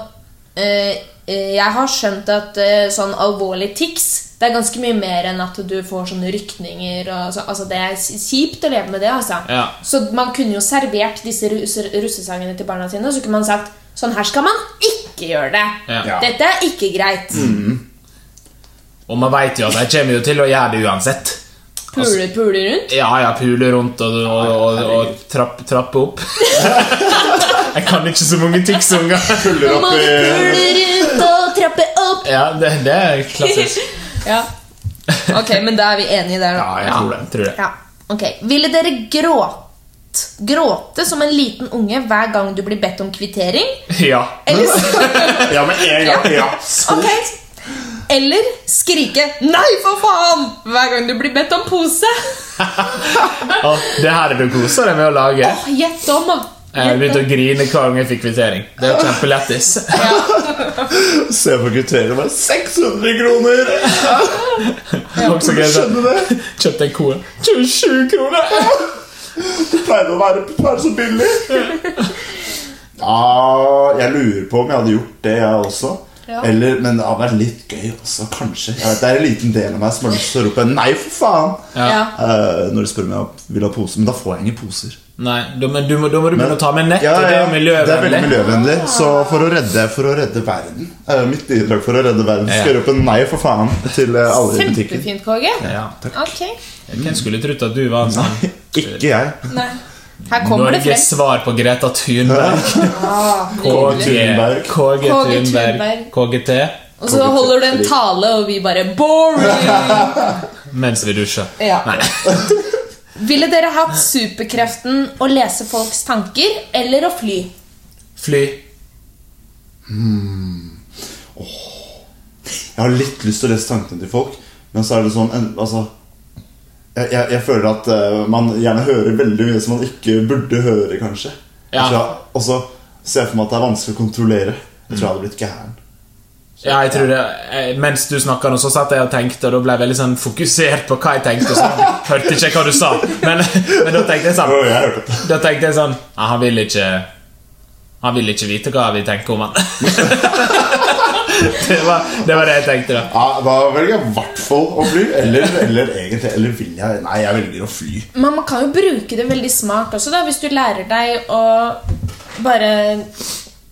[SPEAKER 2] eh, eh, jeg har skjønt at eh, sånn alvorlig tics det er ganske mye mer enn at du får sånne rykninger. Og så, altså Det er kjipt å leve med det. altså
[SPEAKER 3] Ja.
[SPEAKER 2] Så man kunne jo servert disse russe, russesangene til barna sine, og så kunne man sagt sånn her skal man ikke gjøre det.
[SPEAKER 3] Ja.
[SPEAKER 2] Dette er ikke greit.
[SPEAKER 3] Og man veit jo at jeg kommer jo til å gjøre det uansett.
[SPEAKER 2] Pule, pule rundt.
[SPEAKER 3] Ja, ja, pule rundt og, og, og, og trapp, trappe opp. (laughs) Jeg kan ikke så mange tiksunger.
[SPEAKER 4] Puller
[SPEAKER 2] Nå må
[SPEAKER 4] opp
[SPEAKER 2] du
[SPEAKER 4] i
[SPEAKER 2] pule rundt og trappe opp.
[SPEAKER 3] Ja, det, det er klassisk.
[SPEAKER 2] (laughs) ja. Ok, men da er vi enige der.
[SPEAKER 4] Ja,
[SPEAKER 2] da.
[SPEAKER 4] jeg tror det.
[SPEAKER 3] Tror det.
[SPEAKER 2] Ja, ok. Ville dere gråte, gråte som en liten unge hver gang du blir bedt om kvittering?
[SPEAKER 3] Ja.
[SPEAKER 2] Eller, s-
[SPEAKER 4] Ja, med en gang. (laughs) Ja.
[SPEAKER 2] ok. Eller skrike 'nei, for faen!' hver gang du blir bedt om pose.
[SPEAKER 3] Og det her er du koser deg med å lage.
[SPEAKER 2] Åh, Gjett om, da.
[SPEAKER 3] Jeg Eh, begynte å grine hver gang jeg fikk kvittering. Det er jo kjempelettis.
[SPEAKER 4] Se på kriteriet, bare 600 kroner!
[SPEAKER 3] Også
[SPEAKER 4] Du
[SPEAKER 3] gøy, så
[SPEAKER 4] skjønner det?
[SPEAKER 3] Kjøpte en ko. 27 kroner!
[SPEAKER 4] Det pleide å være, være så billig. Ja, jeg lurer på om jeg hadde gjort det, jeg også.
[SPEAKER 2] Ja.
[SPEAKER 4] Eller, men det hadde vært litt gøy også, kanskje. Jeg vet, det er en liten del av meg som har lyst til å rope 'nei, for faen'
[SPEAKER 3] Ja.
[SPEAKER 2] Ja.
[SPEAKER 4] eh, når de spør om jeg vil ha pose. Men da får jeg ingen poser.
[SPEAKER 3] Nei, da, men du må, da må du begynne å ta med nett.
[SPEAKER 4] Ja,
[SPEAKER 3] og det er
[SPEAKER 4] ja, det er veldig
[SPEAKER 3] miljøvennlig.
[SPEAKER 4] miljøvennlig. Så for å redde, for å redde verden eh, Mitt bidrag for å redde verden skal jeg rope 'nei, for faen' til eh, alle i butikken.
[SPEAKER 2] Kjempefint, KG.
[SPEAKER 3] Ja.
[SPEAKER 2] Ok.
[SPEAKER 3] Hvem skulle trodd at du var en sånn
[SPEAKER 4] Ikke jeg.
[SPEAKER 2] Nei. Her kommer det Ah,
[SPEAKER 3] Norges
[SPEAKER 2] frem.
[SPEAKER 3] svar på Greta Thunberg? KG
[SPEAKER 4] Thunberg.
[SPEAKER 3] KG
[SPEAKER 2] KG
[SPEAKER 3] Thunberg. KGT.
[SPEAKER 2] Og så holder du en tale, og vi bare 'boring'.
[SPEAKER 3] Mens vi dusjer.
[SPEAKER 2] Ja.
[SPEAKER 3] Nei.
[SPEAKER 2] Ville dere hatt superkreften å lese folks tanker eller å fly?
[SPEAKER 3] Fly.
[SPEAKER 4] Jeg har litt lyst til å lese tankene til folk, men så er det sånn en, altså, jeg, jeg, jeg føler at eh, man gjerne hører veldig mye som man ikke burde høre, kanskje. Jeg
[SPEAKER 3] Ja.
[SPEAKER 4] tror jeg- Og så ser jeg for meg at det er vanskelig å kontrollere. Jeg tror jeg hadde blitt gæren.
[SPEAKER 3] Ja, jeg tror det jeg- Mens du snakka nå, så satt jeg og tenkte, og da ble jeg veldig sånn fokusert på hva jeg tenkte. Og sånn. Hørte ikke hva du sa, men, men da tenkte jeg sånn
[SPEAKER 4] Å, jeg hørte det.
[SPEAKER 3] Da tenkte jeg sånn ja, Han vil ikke Han vil ikke vite hva vi tenker om han (laughs) Det var, det var det jeg tenkte, da.
[SPEAKER 4] Ja, da velger jeg i hvert fall å fly. Eller, eller egentlig Eller vil jeg Nei, jeg velger å fly.
[SPEAKER 2] Men man kan jo bruke det veldig smart også, da, hvis du lærer deg å bare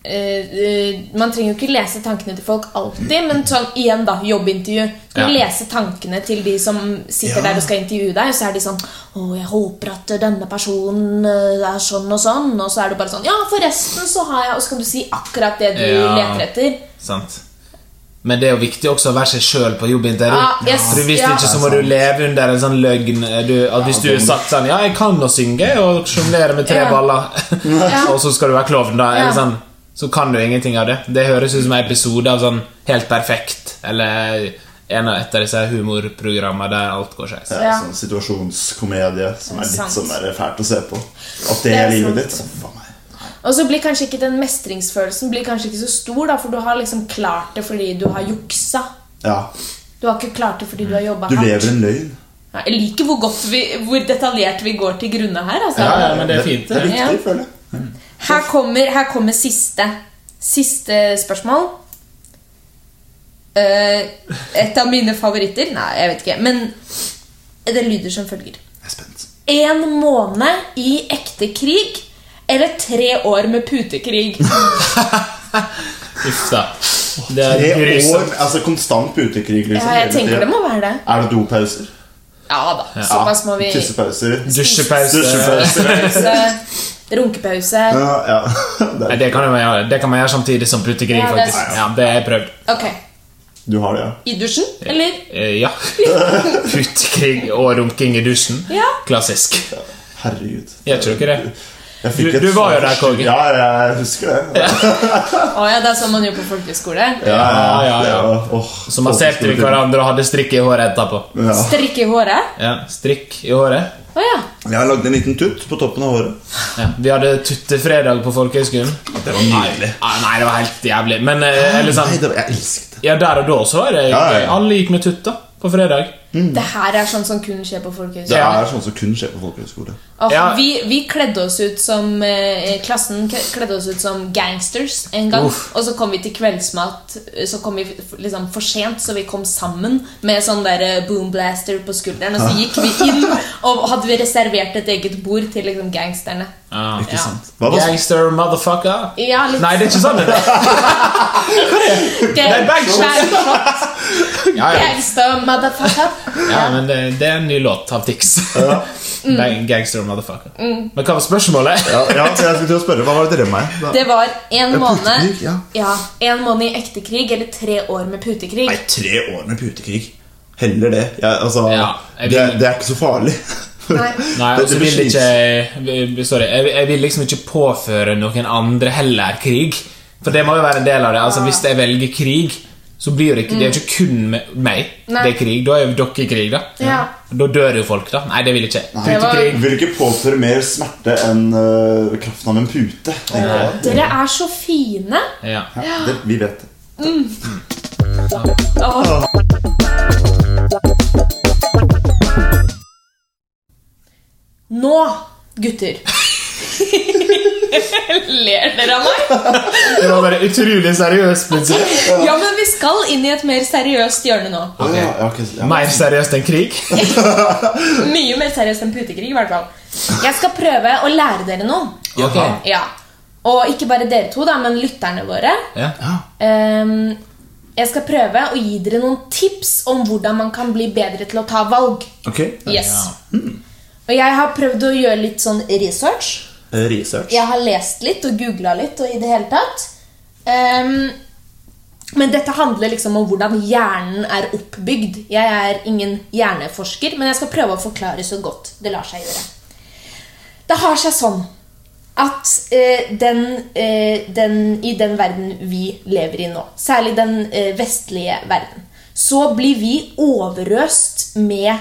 [SPEAKER 2] eh, eh, Man trenger jo ikke lese tankene til folk alltid, men sånn igjen, da, jobbintervju. Skal du
[SPEAKER 3] Ja.
[SPEAKER 2] lese tankene til de som sitter
[SPEAKER 4] Ja.
[SPEAKER 2] der og skal intervjue deg, så er de sånn 'Å, jeg håper at denne personen eh, er sånn og sånn', og så er du bare sånn 'Ja, forresten så har jeg' Og så kan du si akkurat det du
[SPEAKER 3] Ja.
[SPEAKER 2] leter etter.
[SPEAKER 3] Sant. Men det er jo viktig også å være seg sjøl på jobbintervju.
[SPEAKER 2] Ja, yes,
[SPEAKER 3] For Hvis
[SPEAKER 2] ja.
[SPEAKER 3] ikke så må du leve under en sånn løgn. Du, at hvis du er satt sånn Ja, jeg kan å synge og sjonglere med tre
[SPEAKER 2] Ja.
[SPEAKER 3] baller,
[SPEAKER 2] Ja.
[SPEAKER 3] (laughs) og så skal du være klovn, da,
[SPEAKER 2] Ja.
[SPEAKER 3] eller sånn, så kan du ingenting av det. Det høres ut som en episode av sånn Helt perfekt eller en av et av disse humorprogrammene der alt går skeis.
[SPEAKER 4] Det er
[SPEAKER 2] Ja.
[SPEAKER 4] sånn situasjonskomedie som er
[SPEAKER 2] Sant.
[SPEAKER 4] litt sånn der fælt å se på. At det
[SPEAKER 2] Det er
[SPEAKER 4] er livet
[SPEAKER 2] sant.
[SPEAKER 4] ditt. Så, faen meg.
[SPEAKER 2] Og så blir kanskje ikke den mestringsfølelsen blir kanskje ikke så stor, da, for du har liksom klart det fordi du har juksa.
[SPEAKER 4] Ja.
[SPEAKER 2] Du har ikke klart det fordi du har jobba
[SPEAKER 4] Du
[SPEAKER 2] hardt.
[SPEAKER 4] lever en løgn.
[SPEAKER 2] Ja, Jeg liker hvor, godt vi, hvor detaljert vi går til grunne her. Altså.
[SPEAKER 3] Ja, ja, men det er fint,
[SPEAKER 4] Det, det er
[SPEAKER 2] det.
[SPEAKER 4] viktig, føler jeg.
[SPEAKER 2] Her, kommer, her kommer siste Siste spørsmål. Eh, et av mine favoritter Nei, jeg vet ikke. Men det lyder som følger.
[SPEAKER 4] Jeg er spent.
[SPEAKER 2] Én måned i ekte krig eller tre år med
[SPEAKER 4] (laughs)
[SPEAKER 2] putekrig.
[SPEAKER 3] Uff da. Det
[SPEAKER 4] Tre
[SPEAKER 3] er
[SPEAKER 4] år
[SPEAKER 3] grusomt.
[SPEAKER 4] altså konstant putekrig. Liksom,
[SPEAKER 2] Ja, jeg
[SPEAKER 4] hele
[SPEAKER 2] tenker
[SPEAKER 4] tiden.
[SPEAKER 2] det må være det.
[SPEAKER 4] Er det dopauser?
[SPEAKER 2] Ja da. Såpass må vi
[SPEAKER 4] Tissepauser?
[SPEAKER 3] Dusjepause.
[SPEAKER 4] Dusjepauser?
[SPEAKER 2] Pause, Runkepause.
[SPEAKER 4] Ja, ja. (laughs) Det
[SPEAKER 3] Nei,
[SPEAKER 4] er,
[SPEAKER 3] Det kan, man gjøre. det kan man gjøre samtidig som putekrig,
[SPEAKER 2] Ja, det er
[SPEAKER 3] faktisk.
[SPEAKER 2] sant.
[SPEAKER 3] Ja, det har jeg prøvd.
[SPEAKER 2] Ok.
[SPEAKER 4] du har det, ja?
[SPEAKER 2] I dusjen, eller?
[SPEAKER 3] Eh,
[SPEAKER 2] (laughs)
[SPEAKER 3] ja. Putekrig og runking i dusjen.
[SPEAKER 2] Ja.
[SPEAKER 3] Klassisk.
[SPEAKER 4] Herregud.
[SPEAKER 3] Gjør ikke dere det?
[SPEAKER 4] Jeg fikk
[SPEAKER 3] Du-
[SPEAKER 4] et
[SPEAKER 3] du var jo
[SPEAKER 4] svar-
[SPEAKER 3] der, Kåge.
[SPEAKER 4] Ja, jeg husker det. (laughs) Ja,
[SPEAKER 2] Å ja, det er sånn man gjør på folkehøyskole.
[SPEAKER 3] Ja, ja, ja.
[SPEAKER 4] det var- åh,
[SPEAKER 3] Så masserte vi
[SPEAKER 4] folkeskole.
[SPEAKER 3] hverandre og hadde strikk i håret etterpå.
[SPEAKER 4] Ja.
[SPEAKER 2] Strikke i håret.
[SPEAKER 3] Ja, strikk i håret.
[SPEAKER 2] Å ja.
[SPEAKER 4] Jeg har lagd en liten tutt på toppen av håret.
[SPEAKER 3] Ja. Vi hadde tuttefredag på folkehøgskolen.
[SPEAKER 4] Det var nydelig.
[SPEAKER 3] Ah, nei, det var helt jævlig. Men eh, eller
[SPEAKER 4] Nei,
[SPEAKER 3] sånn,
[SPEAKER 4] det var, jeg elsket det.
[SPEAKER 3] ja, der og da så var det
[SPEAKER 4] Ja, ja, ja.
[SPEAKER 3] Alle gikk med tutt da, på fredag.
[SPEAKER 2] Det her er sånn som kun skjer på folkehøyskole.
[SPEAKER 4] Det
[SPEAKER 3] Ja.
[SPEAKER 4] er sånn som kun skjer på folkehøyskole.
[SPEAKER 2] Og
[SPEAKER 3] Ja.
[SPEAKER 2] vi, vi kledde oss ut som eh, Klassen k- kledde oss ut som gangsters en gang.
[SPEAKER 3] Uff.
[SPEAKER 2] Og så kom vi til kveldsmat. Så kom vi f- liksom for sent, så vi kom sammen med sånn der eh, boomblaster på skulderen. Og så gikk vi inn, og hadde vi reservert et eget bord til liksom gangsterne.
[SPEAKER 3] Ah.
[SPEAKER 4] Ikke
[SPEAKER 2] Ja.
[SPEAKER 4] sant? Hva var
[SPEAKER 3] Gangster motherfucker.
[SPEAKER 2] Ja, litt
[SPEAKER 3] Nei, det er ikke sånn. det
[SPEAKER 2] (laughs)
[SPEAKER 3] er.
[SPEAKER 2] Gang-
[SPEAKER 3] bangshots.
[SPEAKER 2] bangshots.
[SPEAKER 3] Ja, ja.
[SPEAKER 2] Gangster, motherfucker.
[SPEAKER 3] Ja, men det, det er en ny låt av Tix. (laughs) Bang- Gangster motherfucker.
[SPEAKER 2] Mm.
[SPEAKER 3] Men hva var spørsmålet?
[SPEAKER 4] ja, ja, jeg skulle til å spørre, Hva var det dere meg? Da-
[SPEAKER 2] Det var en måned
[SPEAKER 4] putekrig, ja.
[SPEAKER 2] Ja, en måned i ekte krig Eller tre år med putekrig
[SPEAKER 4] Nei, tre år med putekrig. Heller det. Jeg, altså,
[SPEAKER 3] Ja, jeg
[SPEAKER 4] det,
[SPEAKER 3] vil-
[SPEAKER 4] det er ikke så farlig. (laughs)
[SPEAKER 2] Nei.
[SPEAKER 3] Nei,
[SPEAKER 4] Det-
[SPEAKER 3] og så
[SPEAKER 4] det blir
[SPEAKER 3] vil ikke
[SPEAKER 4] slitsomt.
[SPEAKER 3] jeg- Sorry. Jeg, jeg vil liksom ikke påføre noen andre heller krig. For det må jo være en del av det. Altså, Hvis jeg velger krig, så blir det ikke Det er jo ikke kun me- meg
[SPEAKER 2] Mm. Nei.
[SPEAKER 3] det er krig. Da er jo dere i krig, da.
[SPEAKER 2] Ja.
[SPEAKER 3] Da dør jo folk, da. Nei, det vil ikke jeg.
[SPEAKER 2] Det var-
[SPEAKER 3] Putekrig.
[SPEAKER 4] Vil ikke påføre mer smerte enn øh, kraften av en pute. tenker jeg.
[SPEAKER 2] Dere er så fine
[SPEAKER 3] Ja.
[SPEAKER 4] Ja, det, vi vet det.
[SPEAKER 2] Åh. Nå, gutter (laughs) Ler dere av meg?
[SPEAKER 3] Det var bare utrolig seriøst plutselig.
[SPEAKER 2] Ja, men vi skal inn i et mer seriøst hjørne nå
[SPEAKER 4] Å, Ja, ja, ok, ja.
[SPEAKER 3] Mer seriøst enn krig.
[SPEAKER 2] Mye mer seriøst enn putekrig i hvert fall Jeg skal prøve å lære dere noe
[SPEAKER 3] Ok.
[SPEAKER 2] Ja. Og ikke bare dere to, da, men lytterne våre.
[SPEAKER 3] Ja.
[SPEAKER 2] Ehm, jeg skal prøve å gi dere noen tips om hvordan man kan bli bedre til å ta valg.
[SPEAKER 4] Ok,
[SPEAKER 2] Yes. Og jeg har prøvd å gjøre litt sånn research.
[SPEAKER 4] Eh, Research.
[SPEAKER 2] Jeg har lest litt og googla litt og i det hele tatt. Ehm, men dette handler liksom om hvordan hjernen er oppbygd. Jeg er ingen hjerneforsker, men jeg skal prøve å forklare så godt det lar seg gjøre. Det har seg sånn at eh, den, eh, den, i den verden vi lever i nå, særlig den eh, vestlige verden, så blir vi overøst med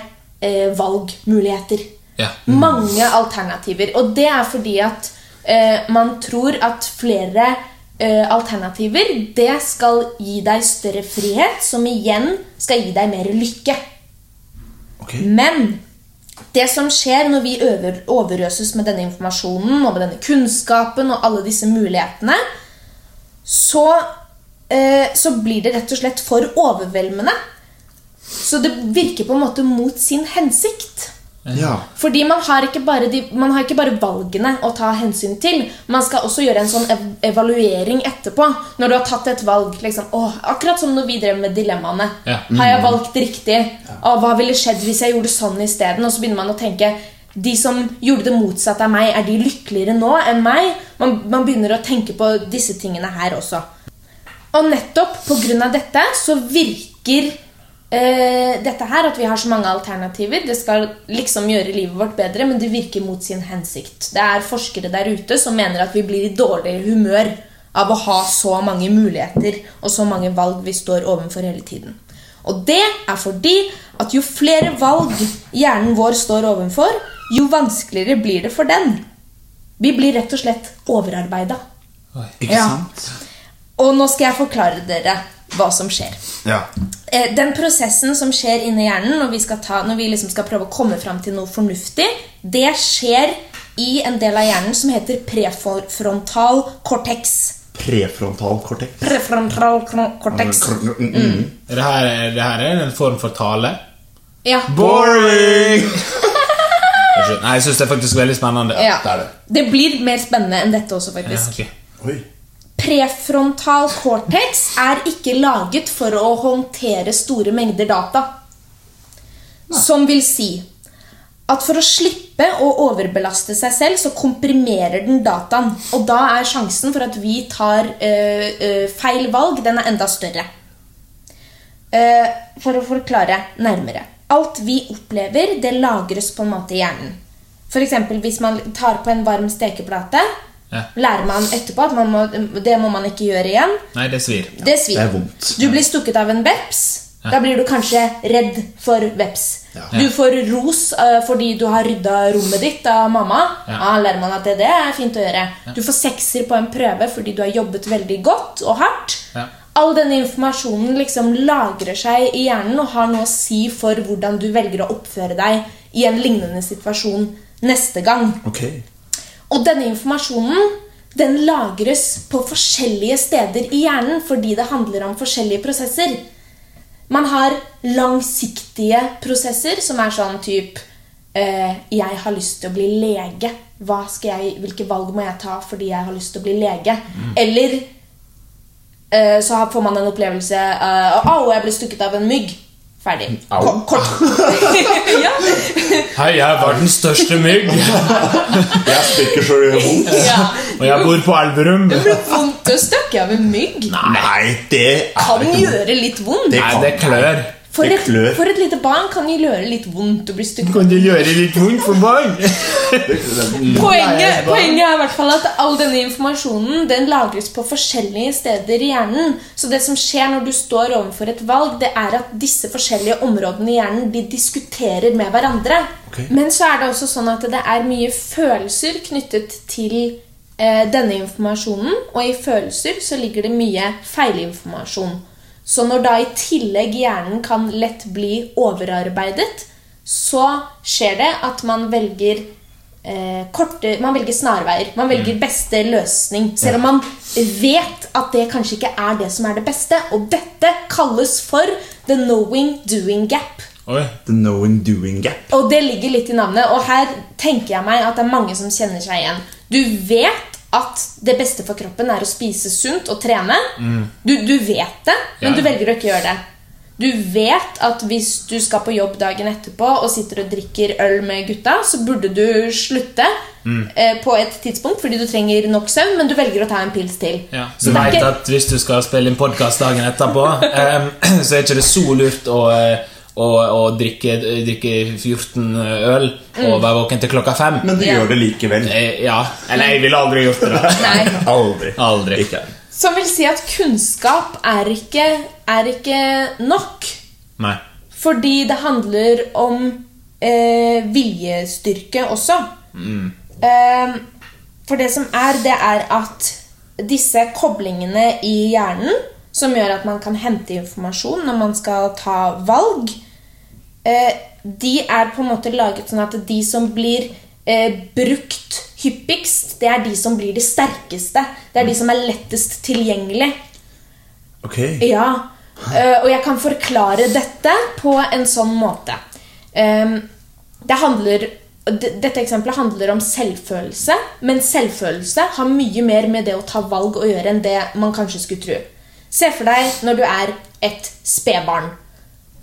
[SPEAKER 2] eh, valgmuligheter.
[SPEAKER 3] Ja.
[SPEAKER 2] Mange alternativer. Og det er fordi at eh, man tror at flere eh, alternativer det skal gi deg større frihet, som igjen skal gi deg mer lykke.
[SPEAKER 4] Ok.
[SPEAKER 3] Mm.
[SPEAKER 2] Men det som skjer når vi øver, overøses med denne informasjonen og med denne kunnskapen og alle disse mulighetene, så eh, så blir det rett og slett for overveldende. Så det virker på en måte mot sin hensikt.
[SPEAKER 4] Ja.
[SPEAKER 2] Fordi man har, ikke bare de, man har ikke bare valgene å ta hensyn til. Man skal også gjøre en sånn ev evaluering etterpå. Når du har tatt et valg. Liksom, åh, akkurat som når vi drev med dilemmaene.
[SPEAKER 3] Ja.
[SPEAKER 2] Har jeg valgt riktig? Åh, hva ville skjedd hvis jeg gjorde sånn isteden? Og så begynner man å tenke de som gjorde det motsatte av meg, er de lykkeligere nå enn meg? Man, man begynner å tenke på disse tingene her også. Og nettopp pga. dette så virker eh, dette her at vi har så mange alternativer. Det skal liksom gjøre livet vårt bedre, men det virker mot sin hensikt. Det er forskere der ute som mener at vi blir i dårligere humør av å ha så mange muligheter og så mange valg vi står overfor hele tiden. Og det er fordi at jo flere valg hjernen vår står overfor, jo vanskeligere blir det for den. Vi blir rett og slett overarbeida.
[SPEAKER 4] Ikke
[SPEAKER 2] Ja.
[SPEAKER 4] sant?
[SPEAKER 2] Og nå skal jeg forklare dere hva som skjer.
[SPEAKER 4] Ja.
[SPEAKER 2] Eh, Den prosessen som skjer inni hjernen når vi, skal ta, når vi liksom skal prøve å komme fram til noe fornuftig, det skjer i en del av hjernen som heter prefrontal cortex.
[SPEAKER 4] Prefrontal korteks.
[SPEAKER 2] Prefrontal kno- cortex.
[SPEAKER 4] Mm.
[SPEAKER 3] Det her, er- det her er en form for tale.
[SPEAKER 2] Ja.
[SPEAKER 3] Boring! (laughs) Unnskyld. Nei, jeg syns det er faktisk veldig spennende.
[SPEAKER 2] ja.
[SPEAKER 4] det er det.
[SPEAKER 2] Det blir mer spennende enn dette også,
[SPEAKER 3] Ja,
[SPEAKER 2] faktisk.
[SPEAKER 3] ok.
[SPEAKER 4] Oi.
[SPEAKER 2] Prefrontal cortex er ikke laget for å håndtere store mengder data. Som vil si at for å slippe å overbelaste seg selv, så komprimerer den dataen. Og da er sjansen for at vi tar øh, øh, feil valg, den er enda større. Eh, for å forklare nærmere. Alt vi opplever, det lagres på en måte i hjernen. For eksempel hvis man tar på en varm stekeplate,
[SPEAKER 3] Ja.
[SPEAKER 2] lærer man etterpå at man må, det må man ikke gjøre igjen.
[SPEAKER 3] Nei, det svir.
[SPEAKER 2] Det svir.
[SPEAKER 4] det er vondt.
[SPEAKER 2] Du blir stukket av en veps.
[SPEAKER 3] Ja.
[SPEAKER 2] Da blir du kanskje redd for veps.
[SPEAKER 4] Ja.
[SPEAKER 2] Du får ros eh, fordi du har rydda rommet ditt av mamma.
[SPEAKER 3] Ja.
[SPEAKER 2] Ja. Ah, lærer man at det, det er fint å gjøre. Du får sekser på en prøve fordi du har jobbet veldig godt og hardt.
[SPEAKER 3] Ja.
[SPEAKER 2] All denne informasjonen liksom lagrer seg i hjernen og har noe å si for hvordan du velger å oppføre deg i en lignende situasjon neste gang.
[SPEAKER 4] Ok.
[SPEAKER 2] Og denne informasjonen den lagres på forskjellige steder i hjernen fordi det handler om forskjellige prosesser. Man har langsiktige prosesser som er sånn typ eh, Jeg har lyst til å bli lege. Hva skal jeg, hvilke valg må jeg ta fordi jeg har lyst til å bli lege? Eller eh, så har- får man en opplevelse eh, Au, jeg ble stukket av en mygg. Ferdig. (laughs)
[SPEAKER 4] Au.
[SPEAKER 2] Ko- Kort. ja.
[SPEAKER 3] Hei, jeg er verdens største mygg,
[SPEAKER 4] Jeg spikker så det gjør
[SPEAKER 2] (laughs)
[SPEAKER 4] vondt.
[SPEAKER 2] ja.
[SPEAKER 3] og jeg bor på Elverum.
[SPEAKER 2] Det blir vondt å stukke av en mygg.
[SPEAKER 4] Nei, det er
[SPEAKER 2] kan gjøre litt vondt.
[SPEAKER 4] Det
[SPEAKER 3] Nei,
[SPEAKER 4] kan
[SPEAKER 3] det klør.
[SPEAKER 2] For
[SPEAKER 4] det
[SPEAKER 2] et,
[SPEAKER 4] klør.
[SPEAKER 2] for et lite barn kan jo gjøre litt vondt å bli stykket.
[SPEAKER 3] Kan det gjøre litt vondt for barn?
[SPEAKER 4] det-
[SPEAKER 2] Poenget, poenget er i hvert fall at all denne informasjonen den lagres på forskjellige steder i hjernen. Så det som skjer når du står overfor et valg, det er at disse forskjellige områdene i hjernen de diskuterer med hverandre.
[SPEAKER 4] Ok.
[SPEAKER 2] Men så er det også sånn at det er mye følelser knyttet til eh, denne informasjonen. Og i følelser så ligger det mye feilinformasjon. Så når da i tillegg hjernen kan lett bli overarbeidet, så skjer det at man velger eh, korte, man velger snarveier. Man velger beste løsning. Selv om man vet at det kanskje ikke er det som er det beste. Og dette kalles for the knowing doing gap.
[SPEAKER 3] Oi.
[SPEAKER 4] The knowing doing gap.
[SPEAKER 2] Og det ligger litt i navnet, og her tenker jeg meg at det er mange som kjenner seg igjen. Du vet at det beste for kroppen er å spise sunt og trene. Du, du vet det, men
[SPEAKER 3] Mm. Ja.
[SPEAKER 2] du velger å ikke gjøre det. Du vet at hvis du skal på jobb dagen etterpå og sitter og drikker øl med gutta, så burde du slutte
[SPEAKER 3] Mm.
[SPEAKER 2] eh, på et tidspunkt fordi du trenger nok søvn, men du velger å ta en pils til.
[SPEAKER 3] Ja. Du
[SPEAKER 2] Så det er
[SPEAKER 3] veit
[SPEAKER 2] ikke-
[SPEAKER 3] at hvis du skal spille inn podkast dagen etterpå, em, (clears throat) så er ikke det så lurt å, eh, å, å drikke, drikke 14 øl og være våken til klokka fem.
[SPEAKER 4] Men du
[SPEAKER 2] Ja.
[SPEAKER 4] gjør det likevel.
[SPEAKER 3] Eh, Ja. Eller jeg ville aldri gjort det. da.
[SPEAKER 2] Nei.
[SPEAKER 4] (laughs) Aldri.
[SPEAKER 3] Aldri.
[SPEAKER 4] Ikke.
[SPEAKER 2] Som vil si at kunnskap er ikke, er ikke nok.
[SPEAKER 3] Nei.
[SPEAKER 2] Fordi det handler om eh, viljestyrke også. Eh, for det som er, det er at disse koblingene i hjernen, som gjør at man kan hente informasjon når man skal ta valg, eh, de er på en måte laget sånn at de som blir eh, brukt hyppigst, det er de som blir de sterkeste. Det er de som er lettest tilgjengelig.
[SPEAKER 4] Ok.
[SPEAKER 2] Ja, eh, og jeg kan forklare dette på en sånn måte. Em, det handler, d- dette eksempelet handler om selvfølelse, men selvfølelse har mye mer med det å ta valg å gjøre enn det man kanskje skulle tro. Se for deg når du er et spedbarn.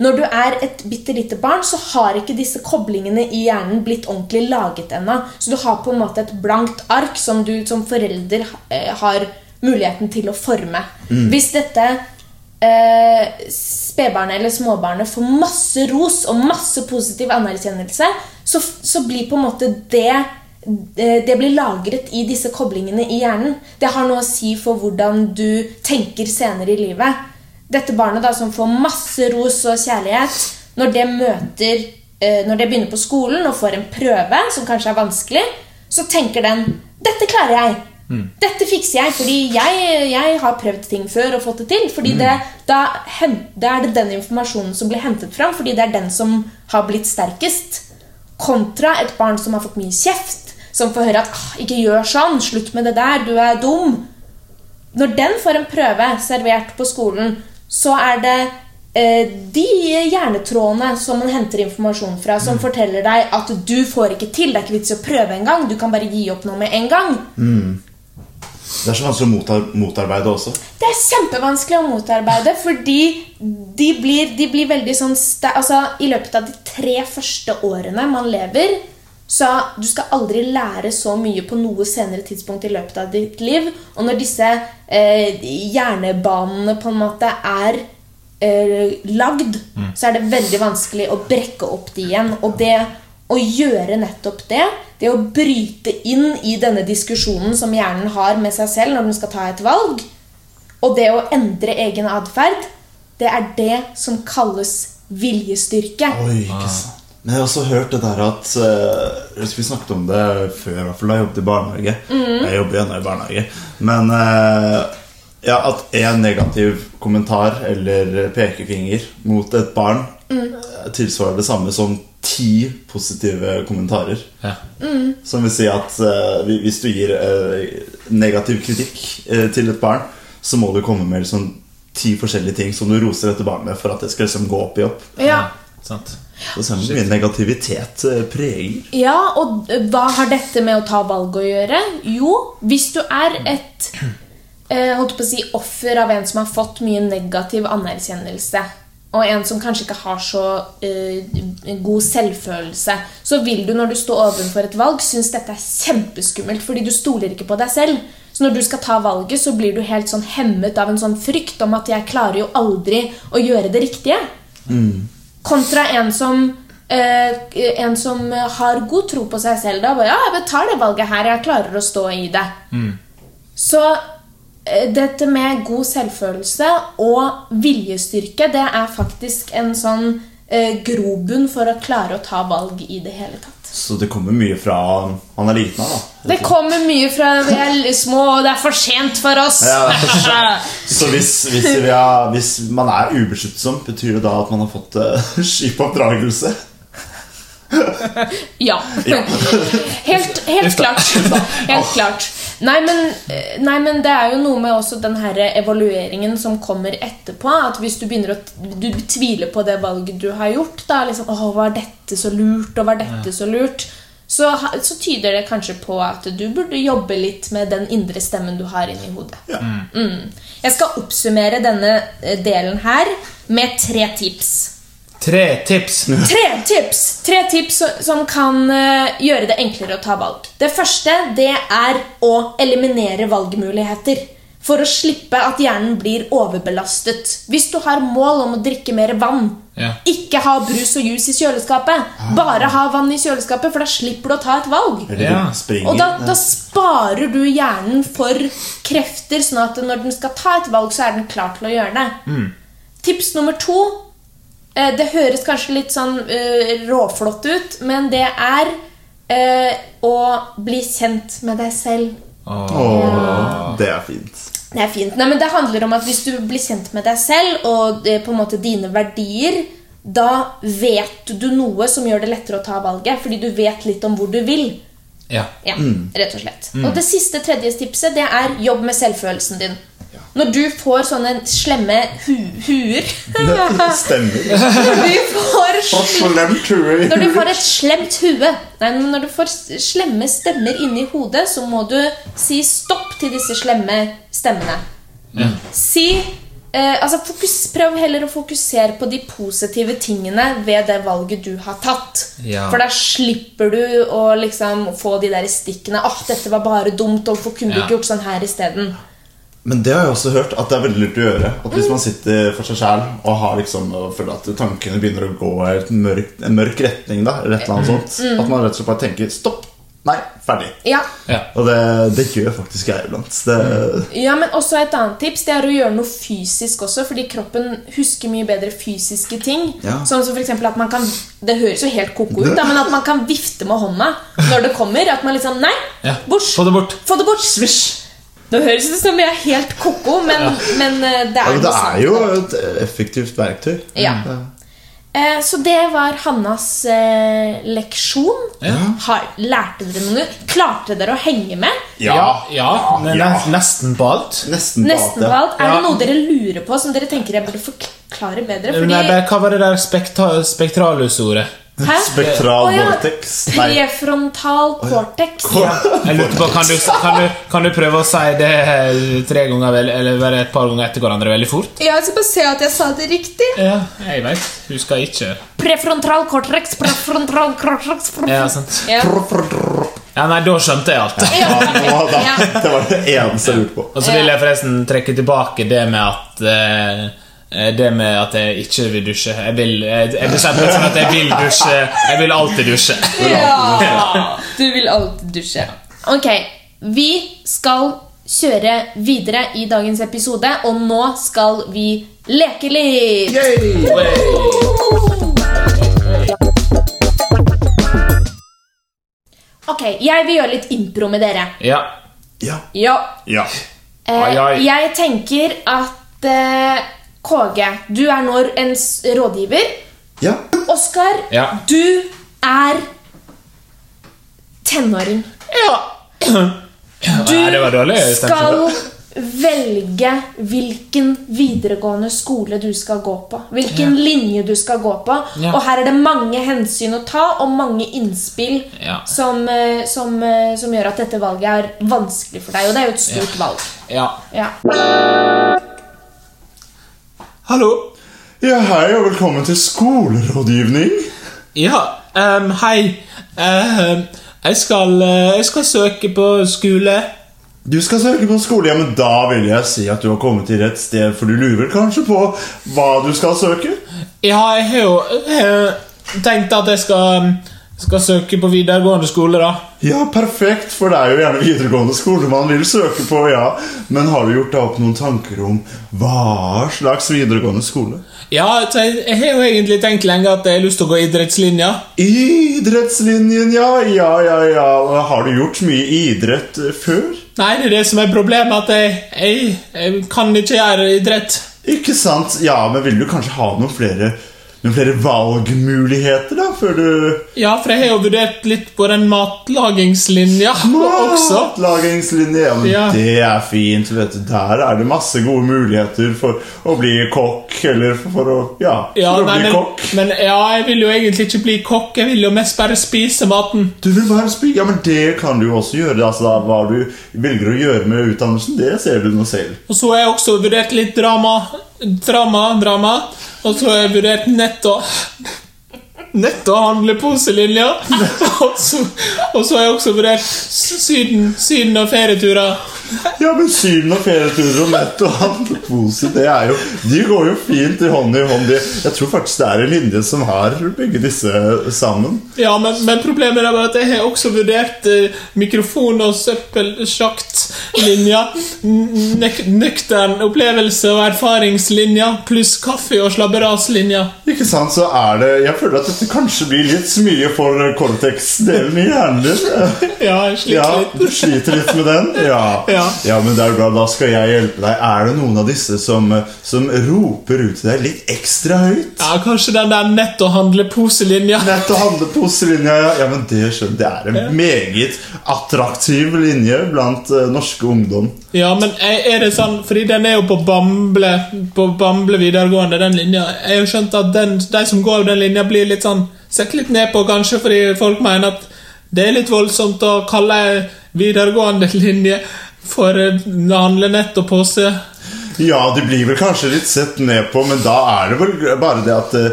[SPEAKER 2] Når du er et bitte lite barn, så har ikke disse koblingene i hjernen blitt ordentlig laget ennå. Så du har på en måte et blankt ark som du som forelder eh, har muligheten til å forme. Hvis dette eh, spedbarnet eller småbarnet får masse ros og masse positiv anerkjennelse, så, f- så blir på en måte det eh, det blir lagret i disse koblingene i hjernen. Det har noe å si for hvordan du tenker senere i livet dette barnet da, som får masse ros og kjærlighet, når det møter eh, Når det begynner på skolen og får en prøve som kanskje er vanskelig, så tenker den 'Dette klarer jeg. Dette fikser jeg.' Fordi jeg, jeg har prøvd ting før og fått det til. Fordi det, da, hen- da er det den informasjonen som blir hentet fram, fordi det er den som har blitt sterkest. Kontra et barn som har fått mye kjeft, som får høre at ah, 'ikke gjør sånn', 'slutt med det der', 'du er dum'. Når den får en prøve servert på skolen, så er det eh, de hjernetrådene som man henter informasjon fra, som forteller deg at du får ikke til. Det er ikke vits i å prøve engang. Du kan bare gi opp noe med en gang.
[SPEAKER 4] Det er så vanskelig å motar motarbeide også.
[SPEAKER 2] Det er kjempevanskelig å motarbeide, fordi de blir, de blir veldig sånn sta- altså, I løpet av de tre første årene man lever, så du skal aldri lære så mye på noe senere tidspunkt i løpet av ditt liv. Og når disse eh, hjernebanene på en måte er eh, lagd, så er det veldig vanskelig å brekke opp de igjen. Og det å gjøre nettopp det, det å bryte inn i denne diskusjonen som hjernen har med seg selv når den skal ta et valg, og det å endre egen atferd, det er det som kalles viljestyrke.
[SPEAKER 4] Oi, ikke sant. Men jeg har også hørt det der at eh, jeg husker Vi snakket om det før, i hvert fall da jeg jobbet i barnehage. Jeg jobber jo ennå i barnehage. Men eh, ja, at én negativ kommentar eller pekefinger mot et barn eh, tilsvarer det samme som ti positive kommentarer.
[SPEAKER 3] Ja.
[SPEAKER 4] Som vil si at eh, hvi- hvis du gir eh, negativ kritikk eh, til et barn, så må du komme med liksom ti forskjellige ting som du roser dette barnet med for at det skal liksom gå opp i opp.
[SPEAKER 2] Ja.
[SPEAKER 3] Sant.
[SPEAKER 4] Det ser ut som mye negativitet eh, preger.
[SPEAKER 2] ja, og eh, hva har dette med å ta valg å gjøre? Jo, hvis du er et eh, holdt på å si, offer av en som har fått mye negativ anerkjennelse, og en som kanskje ikke har så eh, god selvfølelse, så vil du når du står overfor et valg, synes dette er kjempeskummelt, fordi du stoler ikke på deg selv. Så når du skal ta valget, så blir du helt sånn hemmet av en sånn frykt om at jeg klarer jo aldri å gjøre det riktige. Kontra en som eh, en som har god tro på seg selv. Da bare, ja, jeg tar det valget her, jeg klarer å stå i det.
[SPEAKER 4] Mm.
[SPEAKER 2] Så eh, dette med god selvfølelse og viljestyrke, det er faktisk en sånn eh, grobunn for å klare å ta valg i det hele tatt.
[SPEAKER 4] Så det kommer mye fra han er liten av, da.
[SPEAKER 2] Det kommer mye fra vi er l- små, og det er for sent for oss.
[SPEAKER 4] Ja, det er for
[SPEAKER 2] (laughs)
[SPEAKER 4] Så hvis, hvis, vi har, hvis man er ubesluttsom, betyr det da at man har fått uh, skip oppdragelse?
[SPEAKER 2] Ja. (laughs) Helt, helt klart. Helt klart. Nei men, eh, nei, men det er jo noe med også den her evalueringen som kommer etterpå. At hvis du begynner å t- du tviler på det valget du har gjort da, liksom, Åh, var dette så lurt, og var dette så lurt? Så, ha- så tyder det kanskje på at du burde jobbe litt med den indre stemmen du har inni hodet.
[SPEAKER 4] Ja.
[SPEAKER 2] Mm. Jeg skal oppsummere denne eh, delen her med tre tips.
[SPEAKER 3] Tre tips.
[SPEAKER 2] Tre tips Tre tips so- som kan eh, gjøre det enklere å ta valg. Det første det er å eliminere valgmuligheter. For å slippe at hjernen blir overbelastet. Hvis du har mål om å drikke mer vann,
[SPEAKER 3] Ja.
[SPEAKER 2] ikke ha brus og juice i kjøleskapet. Bare ha vann i kjøleskapet, for da slipper du å ta et valg.
[SPEAKER 4] Eller
[SPEAKER 3] Ja.
[SPEAKER 4] springer?
[SPEAKER 2] Og da, da sparer du hjernen for krefter, sånn at når den skal ta et valg, så er den klar til å gjøre det. Tips nummer to eh, Det høres kanskje litt sånn eh, råflott ut, men det er eh, å bli kjent med deg selv.
[SPEAKER 3] Åh.
[SPEAKER 4] Åh, det er fint.
[SPEAKER 2] Det er fint. Nei, men det handler om at hvis du blir kjent med deg selv og eh, på en måte dine verdier, da vet du noe som gjør det lettere å ta valget, fordi du vet litt om hvor du vil.
[SPEAKER 3] Ja.
[SPEAKER 2] Ja, rett og slett. Og det siste tredje tipset det er jobb med selvfølelsen din. Når du får sånne slemme hu huer
[SPEAKER 4] Stemmer.
[SPEAKER 2] Når du får
[SPEAKER 4] Og slemt hue i
[SPEAKER 2] Når du
[SPEAKER 4] huet.
[SPEAKER 2] får et slemt hue Nei, men når du får s- slemme stemmer inni hodet, så må du si stopp til disse slemme stemmene. Si eh, Altså, fokus, prøv heller å fokusere på de positive tingene ved det valget du har tatt.
[SPEAKER 3] Ja.
[SPEAKER 2] For da slipper du å liksom få de der stikkene. Åh, dette var bare dumt. Hvorfor kunne du
[SPEAKER 3] Ja.
[SPEAKER 2] ikke gjort sånn her isteden?
[SPEAKER 4] Men det har jeg også hørt at det er veldig lurt å gjøre. At
[SPEAKER 2] Mm.
[SPEAKER 4] Hvis man sitter for seg sjæl og har liksom og føler at tankene begynner å gå i et mørkt- en mørk retning, da, eller et eller
[SPEAKER 2] Mm.
[SPEAKER 4] annet sånt, at man rett og slett bare tenker 'stopp', 'nei', 'ferdig'.
[SPEAKER 2] Ja.
[SPEAKER 3] Ja.
[SPEAKER 4] Og det, det gjør faktisk jeg iblant. Det,
[SPEAKER 2] Ja, men også et annet tips Det er å gjøre noe fysisk også Fordi kroppen husker mye bedre fysiske ting
[SPEAKER 4] Ja.
[SPEAKER 2] Sånn som for eksempel at man kan Det høres jo helt koko ut da Men at man kan vifte med hånda når det kommer At man liksom, nei,
[SPEAKER 3] Ja.
[SPEAKER 2] bort
[SPEAKER 3] Få det bort.
[SPEAKER 2] Få det bort, svisj Nå høres det ut som jeg er helt koko Men, men eh, det
[SPEAKER 4] ja,
[SPEAKER 2] er,
[SPEAKER 4] men det
[SPEAKER 2] noe sant.
[SPEAKER 4] er jo et effektivt verktøy.
[SPEAKER 2] ja. Eh, Så det var Hannas eh, leksjon
[SPEAKER 3] Ja.
[SPEAKER 2] Har, Lærte dere noe? Klarte dere å henge med?
[SPEAKER 3] Ja, ja, ne-
[SPEAKER 4] ja.
[SPEAKER 3] nes- nesten på alt.
[SPEAKER 4] Nesten på alt,
[SPEAKER 2] Nesten på
[SPEAKER 4] ja.
[SPEAKER 2] alt, Er
[SPEAKER 3] Ja.
[SPEAKER 2] det noe dere lurer på som dere tenker jeg burde forklare bedre? Fordi,
[SPEAKER 3] Nei, det- hva var det der spektra spektralusordet?
[SPEAKER 2] Hæ?
[SPEAKER 4] Spektral
[SPEAKER 2] Å ja,
[SPEAKER 4] vortex. Nei.
[SPEAKER 2] Prefrontal cortex.
[SPEAKER 3] Jeg lurte på, kan du, kan, du, kan du prøve å si det eh, tre ganger vel- eller bare et par ganger etter hverandre veldig fort?
[SPEAKER 2] Ja, Jeg skal bare se at jeg sa det riktig.
[SPEAKER 3] Ja, jeg vet. Husker jeg ikke.
[SPEAKER 2] Prefrontal cortex, prefrontal cortex prefrontal-
[SPEAKER 3] Ja, sant.
[SPEAKER 2] Ja.
[SPEAKER 3] Ja, nei, da skjønte jeg alt.
[SPEAKER 2] Ja.
[SPEAKER 4] Ja, da,
[SPEAKER 2] Ja.
[SPEAKER 4] det var det eneste jeg lurte på.
[SPEAKER 3] Og så vil jeg forresten trekke tilbake det med at eh, det med at jeg ikke vil dusje. Jeg vil jeg, jeg bestemte meg for at jeg vil dusje. Jeg vil alltid dusje.
[SPEAKER 2] Ja. Du vil alltid dusje. Ok, vi skal kjøre videre i dagens episode, og nå skal vi leke litt. Ok, jeg vil gjøre litt impro med dere.
[SPEAKER 3] Ja.
[SPEAKER 4] Ja.
[SPEAKER 2] Ja,
[SPEAKER 4] ja.
[SPEAKER 3] Ai, ai.
[SPEAKER 2] Eh, jeg tenker at eh, KG, du er nå en s- rådgiver.
[SPEAKER 4] ja.
[SPEAKER 2] Oskar,
[SPEAKER 3] Ja.
[SPEAKER 2] du er tenåring.
[SPEAKER 3] ja.
[SPEAKER 2] Du
[SPEAKER 3] Nei, det var dårlig. jeg stemte
[SPEAKER 2] skal
[SPEAKER 3] på.
[SPEAKER 2] velge hvilken videregående skole du skal gå på. Hvilken linje du skal gå på.
[SPEAKER 3] Ja.
[SPEAKER 2] Og her er det mange hensyn å ta, og mange innspill
[SPEAKER 3] Ja.
[SPEAKER 2] som, eh, som, eh, som gjør at dette valget er vanskelig for deg. Og det er jo et stort valg.
[SPEAKER 3] Ja.
[SPEAKER 2] Ja.
[SPEAKER 3] Hallo.
[SPEAKER 4] Ja, hei og velkommen til skolerådgivning.
[SPEAKER 3] Ja, ehm, hei. Ehm, jeg, skal, eh, jeg skal søke på skole.
[SPEAKER 4] Du skal søke på skole, ja, men da vil jeg si at du har kommet til rett sted, for du lurer kanskje på hva du skal søke?
[SPEAKER 3] Ja, jeg har jo eh, tenkt at jeg skal, skal søke på videregående skole, da.
[SPEAKER 4] Ja, perfekt, for det er jo gjerne videregående skole man vil søke på, ja. Men har du gjort deg opp noen tanker om hva slags videregående skole?
[SPEAKER 3] Ja, så jeg, jeg har jo egentlig tenkt lenge at jeg har lyst til å gå idrettslinja.
[SPEAKER 4] Idrettslinjen, ja, ja, ja, ja. Har du gjort mye idrett eh, før?
[SPEAKER 3] Nei, det er det som er problemet, at jeg, jeg, jeg kan ikke gjøre idrett.
[SPEAKER 4] Ikke sant? Ja, men vil du kanskje ha noen flere, noen flere valgmuligheter, da, før du
[SPEAKER 3] Ja, for jeg har jo vurdert litt på den matlagingslinja også.
[SPEAKER 4] Matlagingslinje, ja, men
[SPEAKER 3] Ja.
[SPEAKER 4] det er fint. vet du Der er det masse gode muligheter for å bli kokk, eller for, for å Ja,
[SPEAKER 3] Ja,
[SPEAKER 4] for å
[SPEAKER 3] nei,
[SPEAKER 4] bli
[SPEAKER 3] men,
[SPEAKER 4] kokk.
[SPEAKER 3] men ja, jeg vil jo egentlig ikke bli kokk, jeg vil jo mest bare spise maten.
[SPEAKER 4] Du vil bare spy. Ja, men det kan du jo også gjøre. Altså, da, Hva du velger å gjøre med utdannelsen, det ser du nå selv.
[SPEAKER 3] Og så har jeg også vurdert litt drama. Drama, drama. Og så har jeg vurdert netto. Netto handleposelinja. Og så og så har jeg også vurdert s- Syden, syden og ferieturer.
[SPEAKER 4] Ja, men syvende og ferieturer og netto handlepose, det er jo De går jo fint i hånd i hånd. De, jeg tror faktisk det er en linje som har begge disse sammen.
[SPEAKER 3] Ja, men, men problemet er bare at jeg har også vurdert eh, mikrofon- og søppelsjaktlinja. n- Nøk nøktern opplevelse- og erfaringslinja pluss kaffe- og slabberaslinja.
[SPEAKER 4] Ikke sant, så er det Jeg føler at dette kanskje blir litt mye for cortex-delen i hjernen din.
[SPEAKER 3] Ja, jeg sliter
[SPEAKER 4] Ja,
[SPEAKER 3] (laughs) litt.
[SPEAKER 4] du sliter litt med den? Ja.
[SPEAKER 3] Ja. ja.
[SPEAKER 4] Ja, men det er bra, da skal jeg hjelpe deg. Er det noen av disse som, som roper ut til deg litt ekstra høyt?
[SPEAKER 3] ja, kanskje den der nettohandleposelinja.
[SPEAKER 4] Nett og handleposelinja, ja. ja. Men det skjønner Det er en meget attraktiv linje blant eh, norske ungdom.
[SPEAKER 3] Ja, men er er det sånn Fordi den er jo på Bamble På Bamble videregående, den linja. Jeg har jo skjønt at den, de som går den linja, blir litt sånn Sett litt ned på, kanskje, fordi folk mener at det er litt voldsomt å kalle ei videregående (laughs) linje for eh, handlenett og pose.
[SPEAKER 4] Ja, de blir vel kanskje litt sett ned på, men da er det vel bare det at eh,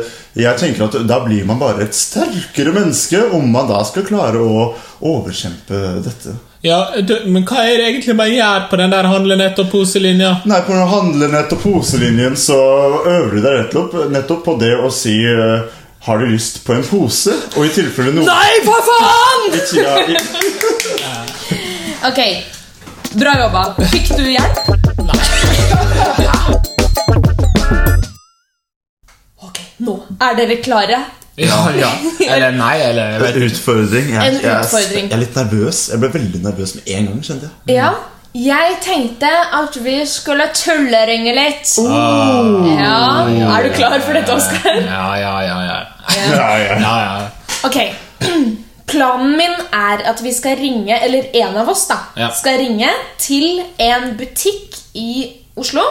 [SPEAKER 4] jeg tenker at Da blir man bare et sterkere menneske om man da skal klare å overkjempe dette.
[SPEAKER 3] Ja, du, men hva er det egentlig man gjør på den der handlenett og poselinja?
[SPEAKER 4] Nei, på den handlenett- og poselinjen så øver du deg nettopp, nettopp på det å si eh, Har du lyst på en pose? Og i tilfelle noen
[SPEAKER 3] Nei, for faen!
[SPEAKER 4] ja, i- (laughs)
[SPEAKER 2] Ok, bra jobba. Fikk du hjelp? (laughs) Ok, nå er dere klare.
[SPEAKER 3] Ja, ja. Eller nei, eller
[SPEAKER 4] (laughs)
[SPEAKER 3] jeg vet
[SPEAKER 4] En utfordring. Jeg,
[SPEAKER 2] En
[SPEAKER 4] jeg er-
[SPEAKER 2] utfordring.
[SPEAKER 4] Jeg er litt nervøs. Jeg ble veldig nervøs med en gang, kjente jeg.
[SPEAKER 2] Ja, jeg tenkte at vi skulle tulleringe litt. Ja, er du klar for dette, Oskar?
[SPEAKER 3] Ja, ja, ja. ja.
[SPEAKER 4] Ja, ja.
[SPEAKER 3] ja, ja.
[SPEAKER 2] Ok, (clears throat) planen min er at vi skal ringe, eller en av oss da,
[SPEAKER 3] Ja.
[SPEAKER 2] skal ringe til en butikk i Oslo,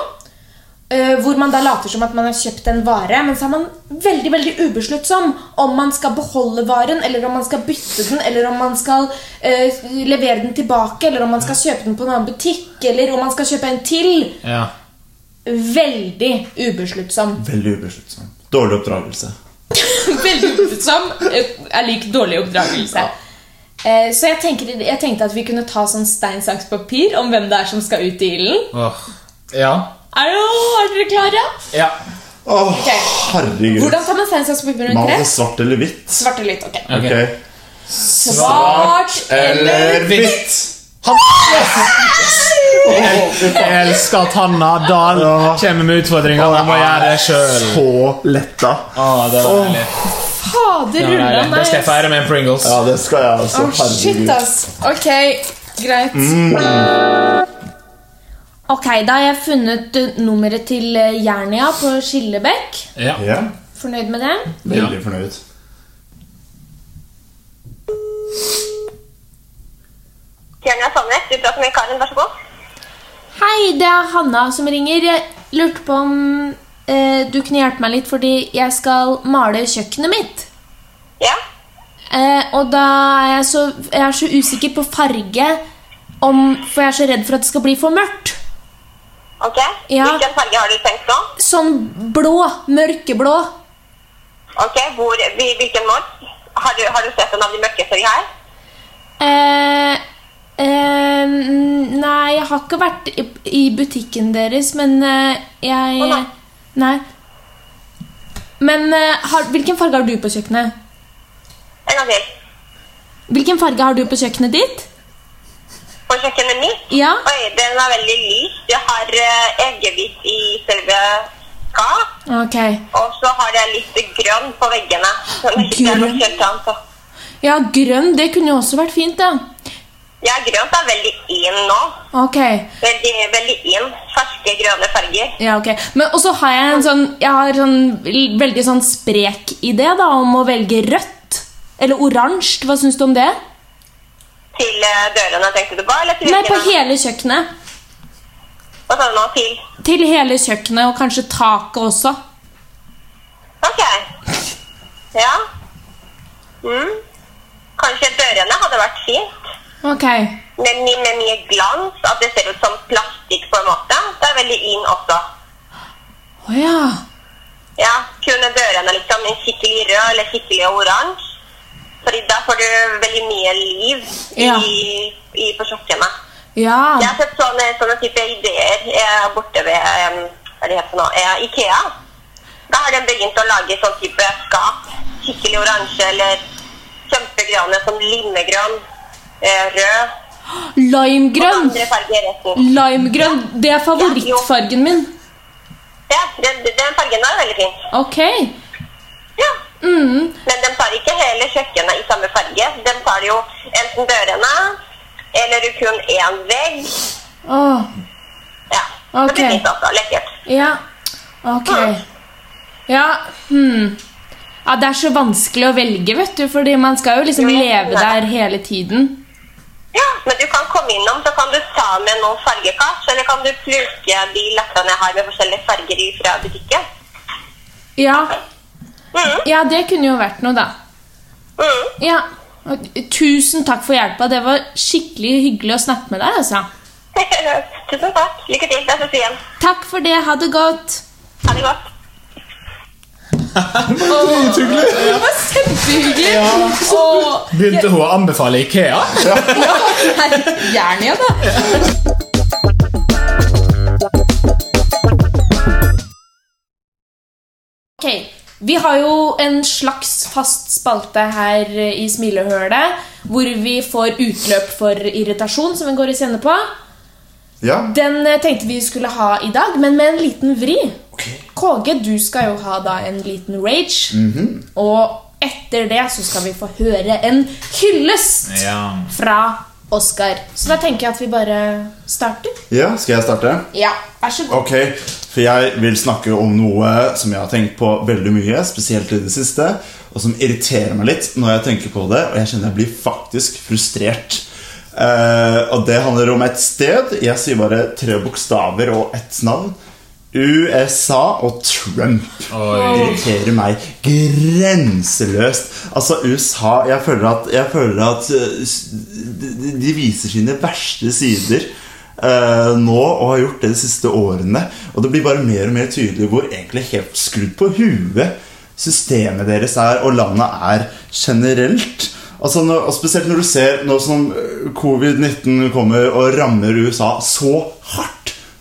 [SPEAKER 2] eh, hvor man da later som at man har kjøpt en vare, men så er man veldig, veldig ubesluttsom om man skal beholde varen, eller om man skal bytte den, eller om man skal eh, levere den tilbake, eller om man skal kjøpe den på en annen butikk, eller om man skal kjøpe en til.
[SPEAKER 3] ja.
[SPEAKER 2] Veldig ubesluttsom.
[SPEAKER 4] Veldig ubesluttsom. Dårlig oppdragelse.
[SPEAKER 2] (laughs) Veldig oppdrattsom er lik dårlig oppdragelse. Eh, Så jeg, tenker, jeg tenkte at vi kunne ta sånn stein, saks, papir om hvem det er som skal ut i ilden.
[SPEAKER 3] Åh. ja.
[SPEAKER 2] Er, jo- er dere klare?
[SPEAKER 3] Ja.
[SPEAKER 4] Åh,
[SPEAKER 2] Ok.
[SPEAKER 4] herregud.
[SPEAKER 2] Hvordan tar man stein, saks, papir under
[SPEAKER 4] Mal det
[SPEAKER 2] tre?
[SPEAKER 4] svart eller hvitt.
[SPEAKER 2] Svart eller hvitt. ok
[SPEAKER 3] Ok.
[SPEAKER 4] Ok.
[SPEAKER 2] Svart eller
[SPEAKER 3] hvitt. Jeg elsker at Hanna Dahl
[SPEAKER 4] Ja.
[SPEAKER 3] kommer med utfordringer. Hun må gjøre det sjøl.
[SPEAKER 4] Ah, Så letta.
[SPEAKER 3] det var deilig.
[SPEAKER 2] Fader
[SPEAKER 3] Ja, det er
[SPEAKER 2] rulla
[SPEAKER 3] det. Det skal jeg
[SPEAKER 2] meg.
[SPEAKER 3] feire med en Pringles.
[SPEAKER 4] Ja, det skal jeg også.
[SPEAKER 2] Å, shit, altså. ass. Ok,
[SPEAKER 4] Herregud.
[SPEAKER 2] greit. Ok, da har jeg funnet eh, nummeret til eh, Jernia på Skillebekk.
[SPEAKER 3] Ja.
[SPEAKER 4] Ja,
[SPEAKER 2] Fornøyd med det?
[SPEAKER 4] veldig fornøyd.
[SPEAKER 1] Tjernia Sandnes, du prater med Karen, vær så god.
[SPEAKER 2] Hei, det er Hanna som ringer. Jeg lurte på om eh, du kunne hjelpe meg litt, fordi jeg skal male kjøkkenet mitt.
[SPEAKER 1] Ja.
[SPEAKER 2] Eh, og da er jeg, så, jeg er så usikker på farge, om, for jeg er så redd for at det skal bli for mørkt.
[SPEAKER 1] Ok.
[SPEAKER 2] Ja.
[SPEAKER 1] Hvilken farge har du tenkt nå?
[SPEAKER 2] Sånn blå. Mørkeblå.
[SPEAKER 1] Ok, Hvor, hvil- Hvilken mål? Har du, har du sett en av de mørkeste vi har?
[SPEAKER 2] Eh, eh, nei, jeg har ikke vært i, i butikken deres, men eh, jeg
[SPEAKER 1] Å, nei.
[SPEAKER 2] Nei. Men eh, har, hvilken farge har du på kjøkkenet?
[SPEAKER 1] En gang til.
[SPEAKER 2] Hvilken farge har du på kjøkkenet ditt?
[SPEAKER 1] På kjøkkenet mitt?
[SPEAKER 2] Ja.
[SPEAKER 1] Oi, den er veldig lys. Du har eh, eggehvit i selve skap,
[SPEAKER 2] Ok.
[SPEAKER 1] og så har det litt grønn på veggene. Så det ikke er altså. noe
[SPEAKER 2] Grønn?
[SPEAKER 1] helt annet, så.
[SPEAKER 2] Ja, grønn, det kunne jo også vært fint, da.
[SPEAKER 1] Ja, grønt er veldig in nå.
[SPEAKER 2] Ok.
[SPEAKER 1] Veldig, veldig in. Ferske, grønne farger.
[SPEAKER 2] Ja, ok. Men også har jeg en sånn Jeg har sånn l- veldig sånn sprek idé, da, om å velge rødt. Eller oransje. Hva syns du om det?
[SPEAKER 1] Til eh, dørene, tenkte du på? Eller til
[SPEAKER 2] Nei, på
[SPEAKER 1] veggene?
[SPEAKER 2] hele kjøkkenet.
[SPEAKER 1] Hva sa du nå? Til?
[SPEAKER 2] Til hele kjøkkenet, og kanskje taket også.
[SPEAKER 1] Ok. Ja. Mm. Kanskje dørene hadde vært fint.
[SPEAKER 2] Ok.
[SPEAKER 1] Med, my- med mye glans, at det ser ut som plastikk på en måte. Det er veldig in også.
[SPEAKER 2] Å ja.
[SPEAKER 1] Ja, kunne dørene liksom en skikkelig rød eller skikkelig oransje. Fordi da får du veldig mye liv i,
[SPEAKER 2] Ja.
[SPEAKER 1] i, på kjøkkenet.
[SPEAKER 2] Ja.
[SPEAKER 1] Jeg har sett sånne, sånne type ideer eh, borte ved eh, hva er det heter nå, eh, Ikea. Da har de begynt å lage sånn type skap. Skikkelig oransje eller kjempegrønne som limegrønn, eh, rød og
[SPEAKER 2] Limegrønn.
[SPEAKER 1] andre farger. i resten.
[SPEAKER 2] Limegrønn. Det er favorittfargen min.
[SPEAKER 1] Ja, den, den fargen er veldig fin.
[SPEAKER 2] Ok.
[SPEAKER 1] Ja.
[SPEAKER 2] Mm.
[SPEAKER 1] Men de tar ikke hele kjøkkenet i samme farge. De tar jo enten dørene, eller kun én vegg,
[SPEAKER 2] Åh,
[SPEAKER 1] Ja. Det
[SPEAKER 2] Ok.
[SPEAKER 1] blir fint, altså. Lekkert.
[SPEAKER 2] ja. Ok. Ja, hmm. Ja, det er så vanskelig å velge, vet du, fordi man skal jo liksom leve der hele tiden.
[SPEAKER 1] Ja, men du kan komme innom, så kan du ta med noen fargekart, eller kan du plukke de lappene jeg har med forskjellige farger i fra butikken.
[SPEAKER 2] Ja.
[SPEAKER 1] Mhm.
[SPEAKER 2] ja, det kunne jo vært noe, da.
[SPEAKER 1] Mm. (laughs)
[SPEAKER 2] Ja. og Tusen takk for hjelpa. Det var skikkelig hyggelig å snakke med deg. altså.
[SPEAKER 1] Tusen takk. Lykke til. Jeg ses igjen.
[SPEAKER 2] Takk for det. Ha det godt.
[SPEAKER 1] Ha det godt.
[SPEAKER 2] Det var kjempehyggelig. Og
[SPEAKER 3] Begynte hun å anbefale Ikea?
[SPEAKER 2] gjerne igjen, da. Ok, Vi har jo en slags fast spalte her i Smilehølet hvor vi får utløp for irritasjon, som vi går i kjenne på.
[SPEAKER 4] Ja.
[SPEAKER 2] Den eh, tenkte vi skulle ha i dag, men med en liten vri.
[SPEAKER 4] Ok.
[SPEAKER 2] KG, du skal jo ha da en liten rage. Og etter det så skal vi få høre en hyllest
[SPEAKER 3] Ja.
[SPEAKER 2] fra Oskar. Så da tenker jeg at vi bare starter.
[SPEAKER 4] ja, skal jeg starte?
[SPEAKER 2] Ja, vær så god.
[SPEAKER 4] Ok, for jeg vil snakke om noe som jeg har tenkt på veldig mye, spesielt i det siste, og som irriterer meg litt når jeg tenker på det, og jeg kjenner jeg blir faktisk frustrert. Eh, og det handler om et sted. Jeg sier bare tre bokstaver og ett navn. USA og Trump
[SPEAKER 3] Oi.
[SPEAKER 4] irriterer meg grenseløst. Altså, USA Jeg føler at, jeg føler at eh, s- de, de viser sine verste sider eh, nå og har gjort det de siste årene. Og det blir bare mer og mer tydelig hvor egentlig helt skrudd på huet systemet deres er, og landet er generelt. Altså når, og Spesielt når du ser nå som eh, covid-19 kommer og rammer USA så hardt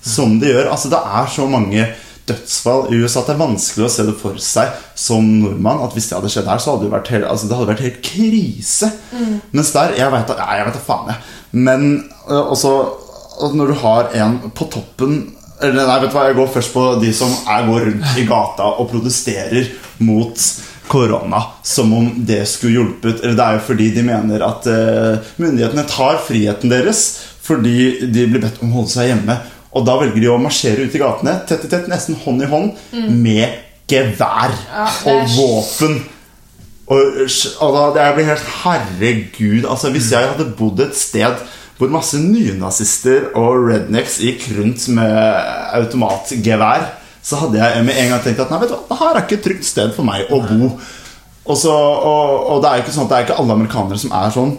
[SPEAKER 4] som det gjør. Altså Det er så mange dødsfall i USA at det er vanskelig å se det for seg som nordmann. At Hvis det hadde skjedd her, så hadde det vært helt, altså, det hadde vært helt krise. Mens der Jeg veit da jeg vet da faen, jeg. Men eh, også at når du har en på toppen eller nei, vet du hva, Jeg går først på de som er, går rundt i gata og protesterer mot korona. Som om det skulle hjulpet. Eller Det er jo fordi de mener at eh, myndighetene tar friheten deres fordi de blir bedt om å holde seg hjemme. Og da velger de å marsjere ut i gatene, tett i tett, nesten hånd i hånd, med gevær
[SPEAKER 2] Mm. det er
[SPEAKER 4] og våpen. Og, og da, jeg blir helt Herregud, altså hvis jeg hadde bodd et sted hvor masse nynazister og rednecks gikk rundt med automatgevær, så hadde jeg med en gang tenkt at nei, vet du hva, det her er ikke et trygt sted for meg å bo. Og, så, og, og det er jo ikke sånn at det er ikke alle amerikanere som er sånn.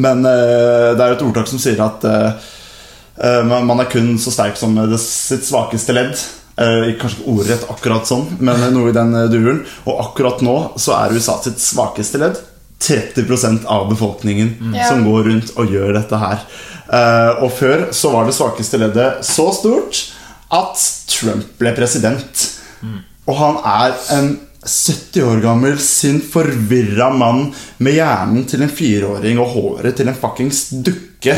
[SPEAKER 4] Men eh, det er jo et ordtak som sier at eh, Eh, Man man er kun så sterk som det sitt svakeste ledd. Eh, Kanskje ikke ordrett akkurat sånn, men noe i den eh, duren. Og akkurat nå så er USA sitt svakeste ledd 30 av befolkningen som går rundt og gjør dette her. Eh, Og før så var det svakeste leddet så stort at Trump ble president. Og han er en 70 år gammel, sint, forvirra mann med hjernen til en fireåring og håret til en fuckings dukke.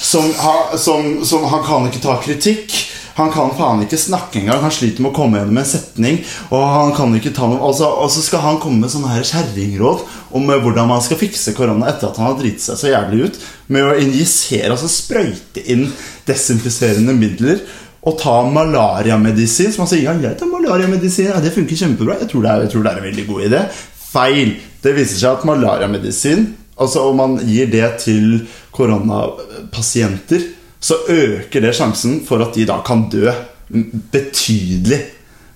[SPEAKER 4] Som, har- som, som Han kan ikke ta kritikk. Han kan faen ikke snakke engang. Han sliter med å komme gjennom en setning. Og han kan ikke ta noe altså, Og så skal han komme med sånne her kjerringråd om eh, hvordan man skal fikse korona etter at han har driti seg så jævlig ut, med å injisere, altså sprøyte inn desinfiserende midler å ta malariamedisin. Som han sier ja, jeg tar malariamedisin, ja, det funker kjempebra. Jeg tror, det er, jeg tror det er en veldig god idé. Feil. Det viser seg at malariamedisin, altså om man gir det til koronapasienter, så øker det sjansen for at de da kan dø betydelig.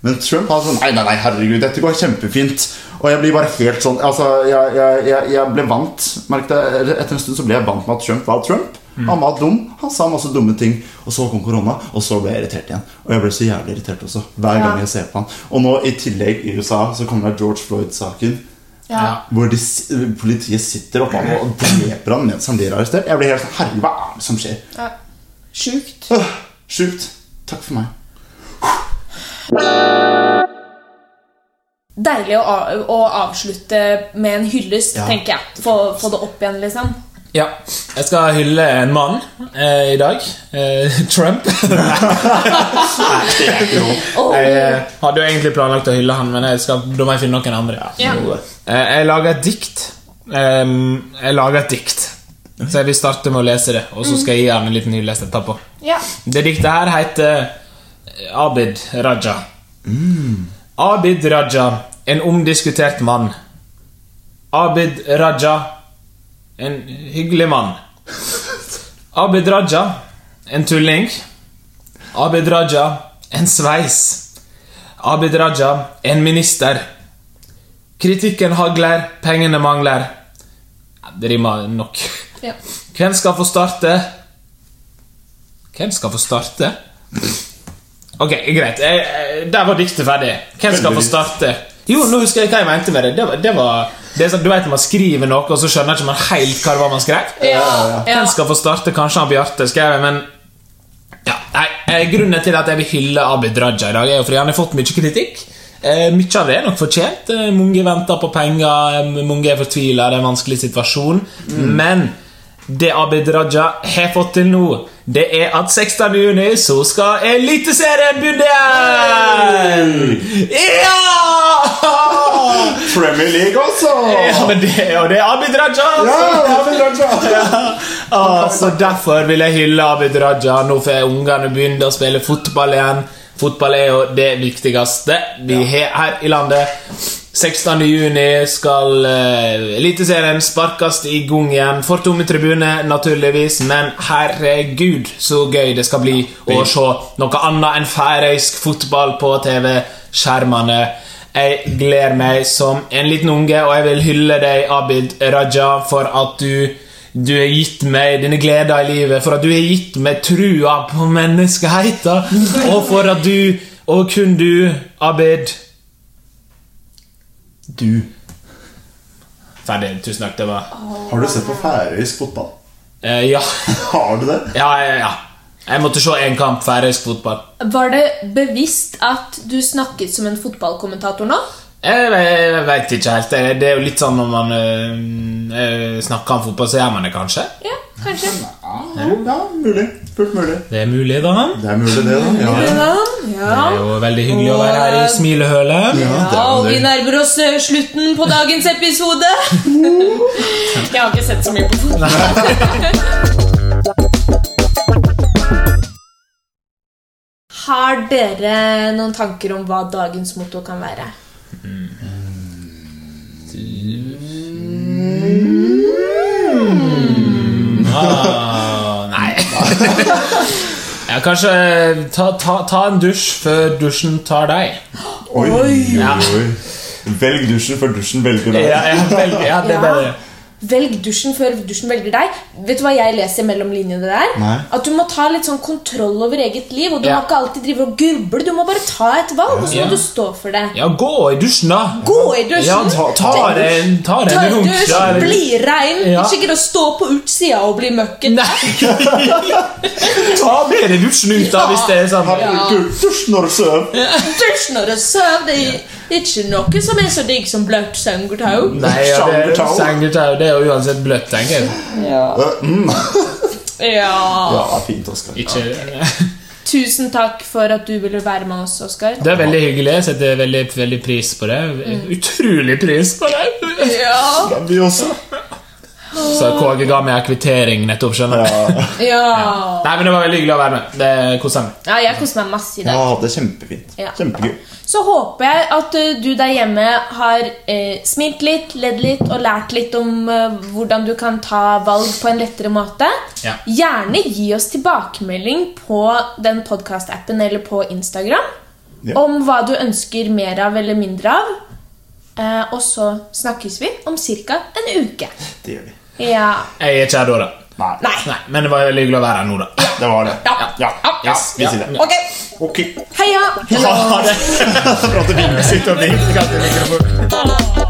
[SPEAKER 4] Men Trump har sånn Nei, nei, nei, herregud, dette går kjempefint. Og jeg blir bare helt sånn Altså, jeg, jeg, jeg, jeg ble vant merk det, eller Etter en stund så ble jeg vant med at Trump var Trump. Han var dum. Han sa masse dumme ting. Og så kom korona, og så ble jeg irritert igjen. Og jeg ble så jævlig irritert også. Hver gang jeg ser på han. Og nå i tillegg i USA så kommer det George Floyd-saken. Hvor de, s- politiet sitter oppe han og dreper han mens han blir arrestert. Jeg blir helt sånn Herregud, hva er det som skjer?
[SPEAKER 2] Sjukt.
[SPEAKER 4] Øh, Sjukt. Takk for meg.
[SPEAKER 2] Deilig å, av- å avslutte med en hyllest,
[SPEAKER 4] Ja.
[SPEAKER 2] tenker jeg. Få, få det opp igjen, liksom.
[SPEAKER 3] Ja. Jeg skal hylle en mann eh, i dag. Eh, (laughs) Trump.
[SPEAKER 4] Det er ikke noe.
[SPEAKER 3] Jeg eh, hadde jo egentlig planlagt å hylle han, men jeg skal, da må jeg finne noen andre.
[SPEAKER 2] Ja.
[SPEAKER 3] Eh, jeg lager et dikt. Em, jeg lager et dikt. Så jeg vil starte med å lese det, og så skal jeg gi han en liten hyllest etterpå.
[SPEAKER 2] Ja.
[SPEAKER 3] Det diktet her heter eh, Abid Raja. Abid Raja, en omdiskutert mann. Abid Raja, en hyggelig mann. Abid Raja, en tulling. Abid Raja, en sveis. Abid Raja, en minister. Kritikken hagler, pengene mangler. Det rimer nok.
[SPEAKER 2] Ja.
[SPEAKER 3] Hvem skal få starte? Hvem skal få starte? Ok, greit. Eh, eh, Der var diktet ferdig. Hvem skal få
[SPEAKER 4] Heldigvis.
[SPEAKER 3] starte? Jo, nå husker jeg hva jeg mente med det. Det var, det var det er sånn, Du vet når man skriver noe, og så skjønner ikke man helt hva det var man skrev?
[SPEAKER 2] Ja, ja.
[SPEAKER 3] Hvem skal få starte? Kanskje han Bjarte skrev det, men ja, nei, eh, Grunnen til at jeg vil hylle Abid Raja i dag, er jo fordi han har fått mye kritikk. Eh, mye av det er nok fortjent. Eh, mange venter på penger, eh, mange er fortvila, det er en vanskelig situasjon.
[SPEAKER 4] Mm.
[SPEAKER 3] Men det Abid Raja har fått til nå, det er at 16. juni så skal Eliteserien begynne igjen!
[SPEAKER 4] (laughs)
[SPEAKER 3] Ja!
[SPEAKER 4] Premier League også!
[SPEAKER 3] ja men det, og det er Abid Raja!
[SPEAKER 4] Ja,
[SPEAKER 3] altså.
[SPEAKER 4] det er vel kanskje.
[SPEAKER 3] Ah, så derfor vil jeg hylle Abid Raja. Nå får ungene begynne å spille fotball igjen. Fotball er jo det viktigste vi har her i landet. 16. juni skal eh, Eliteserien sparkes i gang igjen. For tomme tribuner, naturligvis, men herregud så gøy det skal bli å se noe annet enn færøysk fotball på TV-skjermene. Jeg gleder meg som en liten unge, og jeg vil hylle deg, Abid Raja, for at du du har gitt meg dine gleder i livet, for at du har gitt meg trua på menneskeheten, og for at du, og kun du, Abid Du. Ferdig. Tusen takk, det var
[SPEAKER 4] Har du sett på færøysk fotball?
[SPEAKER 3] eh, Ja,
[SPEAKER 4] Har du det?
[SPEAKER 3] ja, ja. ja. Jeg måtte se en kamp færøysk fotball.
[SPEAKER 2] Var det bevisst at du snakket som en fotballkommentator nå?
[SPEAKER 3] Jeg, jeg, veit ikke helt. Det det er jo litt sånn når man eh, eh, snakker om fotball, så gjør man det kanskje.
[SPEAKER 2] Ja, kanskje.
[SPEAKER 4] Jo, ja, mulig. Fullt mulig.
[SPEAKER 3] Det er mulig, da.
[SPEAKER 4] Det er mulig, det, da. Ja.
[SPEAKER 2] Ja,
[SPEAKER 3] Det
[SPEAKER 2] ja.
[SPEAKER 3] er jo veldig hyggelig å være her i smilehølet.
[SPEAKER 2] ja og vi nærmer oss eh, slutten på dagens episode. Jeg har ikke sett så mye på fotball. Har dere noen tanker om hva dagens motto kan være?
[SPEAKER 3] Ah, nei. (laughs) ja, kanskje ta, ta, ta en dusj før dusjen tar deg.
[SPEAKER 4] Oi,
[SPEAKER 3] Ja.
[SPEAKER 4] oi, oi. Velg dusjen før dusjen velger deg.
[SPEAKER 3] Ja, ja, vel, ja, det er bedre.
[SPEAKER 2] Velg dusjen før dusjen velger deg. Vet du hva jeg leser mellom linjene der?
[SPEAKER 4] Nei.
[SPEAKER 2] At du må ta litt sånn kontroll over eget liv, og du
[SPEAKER 3] Ja.
[SPEAKER 2] må ikke alltid drive og gurble. Du må bare ta et valg, og så
[SPEAKER 3] Ja.
[SPEAKER 2] må du stå for det.
[SPEAKER 3] ja, gå i dusjen, da.
[SPEAKER 2] Gå i dusjen!
[SPEAKER 3] Ja, ta, ta deg en ta deg
[SPEAKER 2] Ta
[SPEAKER 3] en
[SPEAKER 2] en
[SPEAKER 3] dunk.
[SPEAKER 2] dusj,
[SPEAKER 3] ja, eller- (laughs)
[SPEAKER 2] bli rein.
[SPEAKER 3] Ja.
[SPEAKER 2] Ikke gidde å stå på utsida og bli møkken.
[SPEAKER 3] Nei! ta med deg dusjen ut, da, hvis det er sånn.
[SPEAKER 4] Her
[SPEAKER 2] Ja.
[SPEAKER 4] bruker du dusj når du sover.
[SPEAKER 2] Dusj når du sover. Det er ikke noe som er så digg som bløtt sengetau.
[SPEAKER 3] Nei, ja, det,
[SPEAKER 4] Sangertau.
[SPEAKER 3] sangertau, det er jo uansett bløtt, tenker jeg.
[SPEAKER 2] Ja.
[SPEAKER 4] Ja, fint, Oskar.
[SPEAKER 3] Ikke, (laughs)
[SPEAKER 2] Tusen takk for at du ville være med oss, Oskar.
[SPEAKER 3] det er veldig hyggelig. Jeg setter veldig, veldig pris på det. Utrolig pris på det!
[SPEAKER 2] Mm. Ja.
[SPEAKER 4] Ja, vi også.
[SPEAKER 3] Så KG ga meg en kvittering nettopp, skjønner du.
[SPEAKER 4] Ja.
[SPEAKER 2] ja.
[SPEAKER 3] Nei, men det var veldig hyggelig å være med. Det koser meg.
[SPEAKER 2] Ja, jeg koser meg masse i
[SPEAKER 4] Ja,
[SPEAKER 2] dag.
[SPEAKER 4] det er kjempefint.
[SPEAKER 2] Ja.
[SPEAKER 4] Kjempegøy.
[SPEAKER 2] Så håper jeg at eh, du der hjemme har eh, smilt litt, ledd litt og lært litt om eh, hvordan du kan ta valg på en lettere måte.
[SPEAKER 3] Ja.
[SPEAKER 2] Gjerne gi oss tilbakemelding på den podkast-appen eller på Instagram
[SPEAKER 4] Ja.
[SPEAKER 2] om hva du ønsker mer av eller mindre av. Eh, og så snakkes vi om ca. en uke.
[SPEAKER 4] Det gjør vi.
[SPEAKER 2] Ja.
[SPEAKER 3] Jeg er ikke her da, da.
[SPEAKER 4] Nei.
[SPEAKER 2] Nei.
[SPEAKER 3] Nei, men det var veldig hyggelig å være her nå, da.
[SPEAKER 4] Det var det.
[SPEAKER 2] Ja.
[SPEAKER 4] Ja, ja
[SPEAKER 3] Yes,
[SPEAKER 4] vi
[SPEAKER 3] ja.
[SPEAKER 4] sier det.
[SPEAKER 2] Ok.
[SPEAKER 4] Ok.
[SPEAKER 2] Heia!
[SPEAKER 3] Ha det!
[SPEAKER 4] Prate vingesitt og vink.
[SPEAKER 3] Katte mikrofon.
[SPEAKER 2] Heia.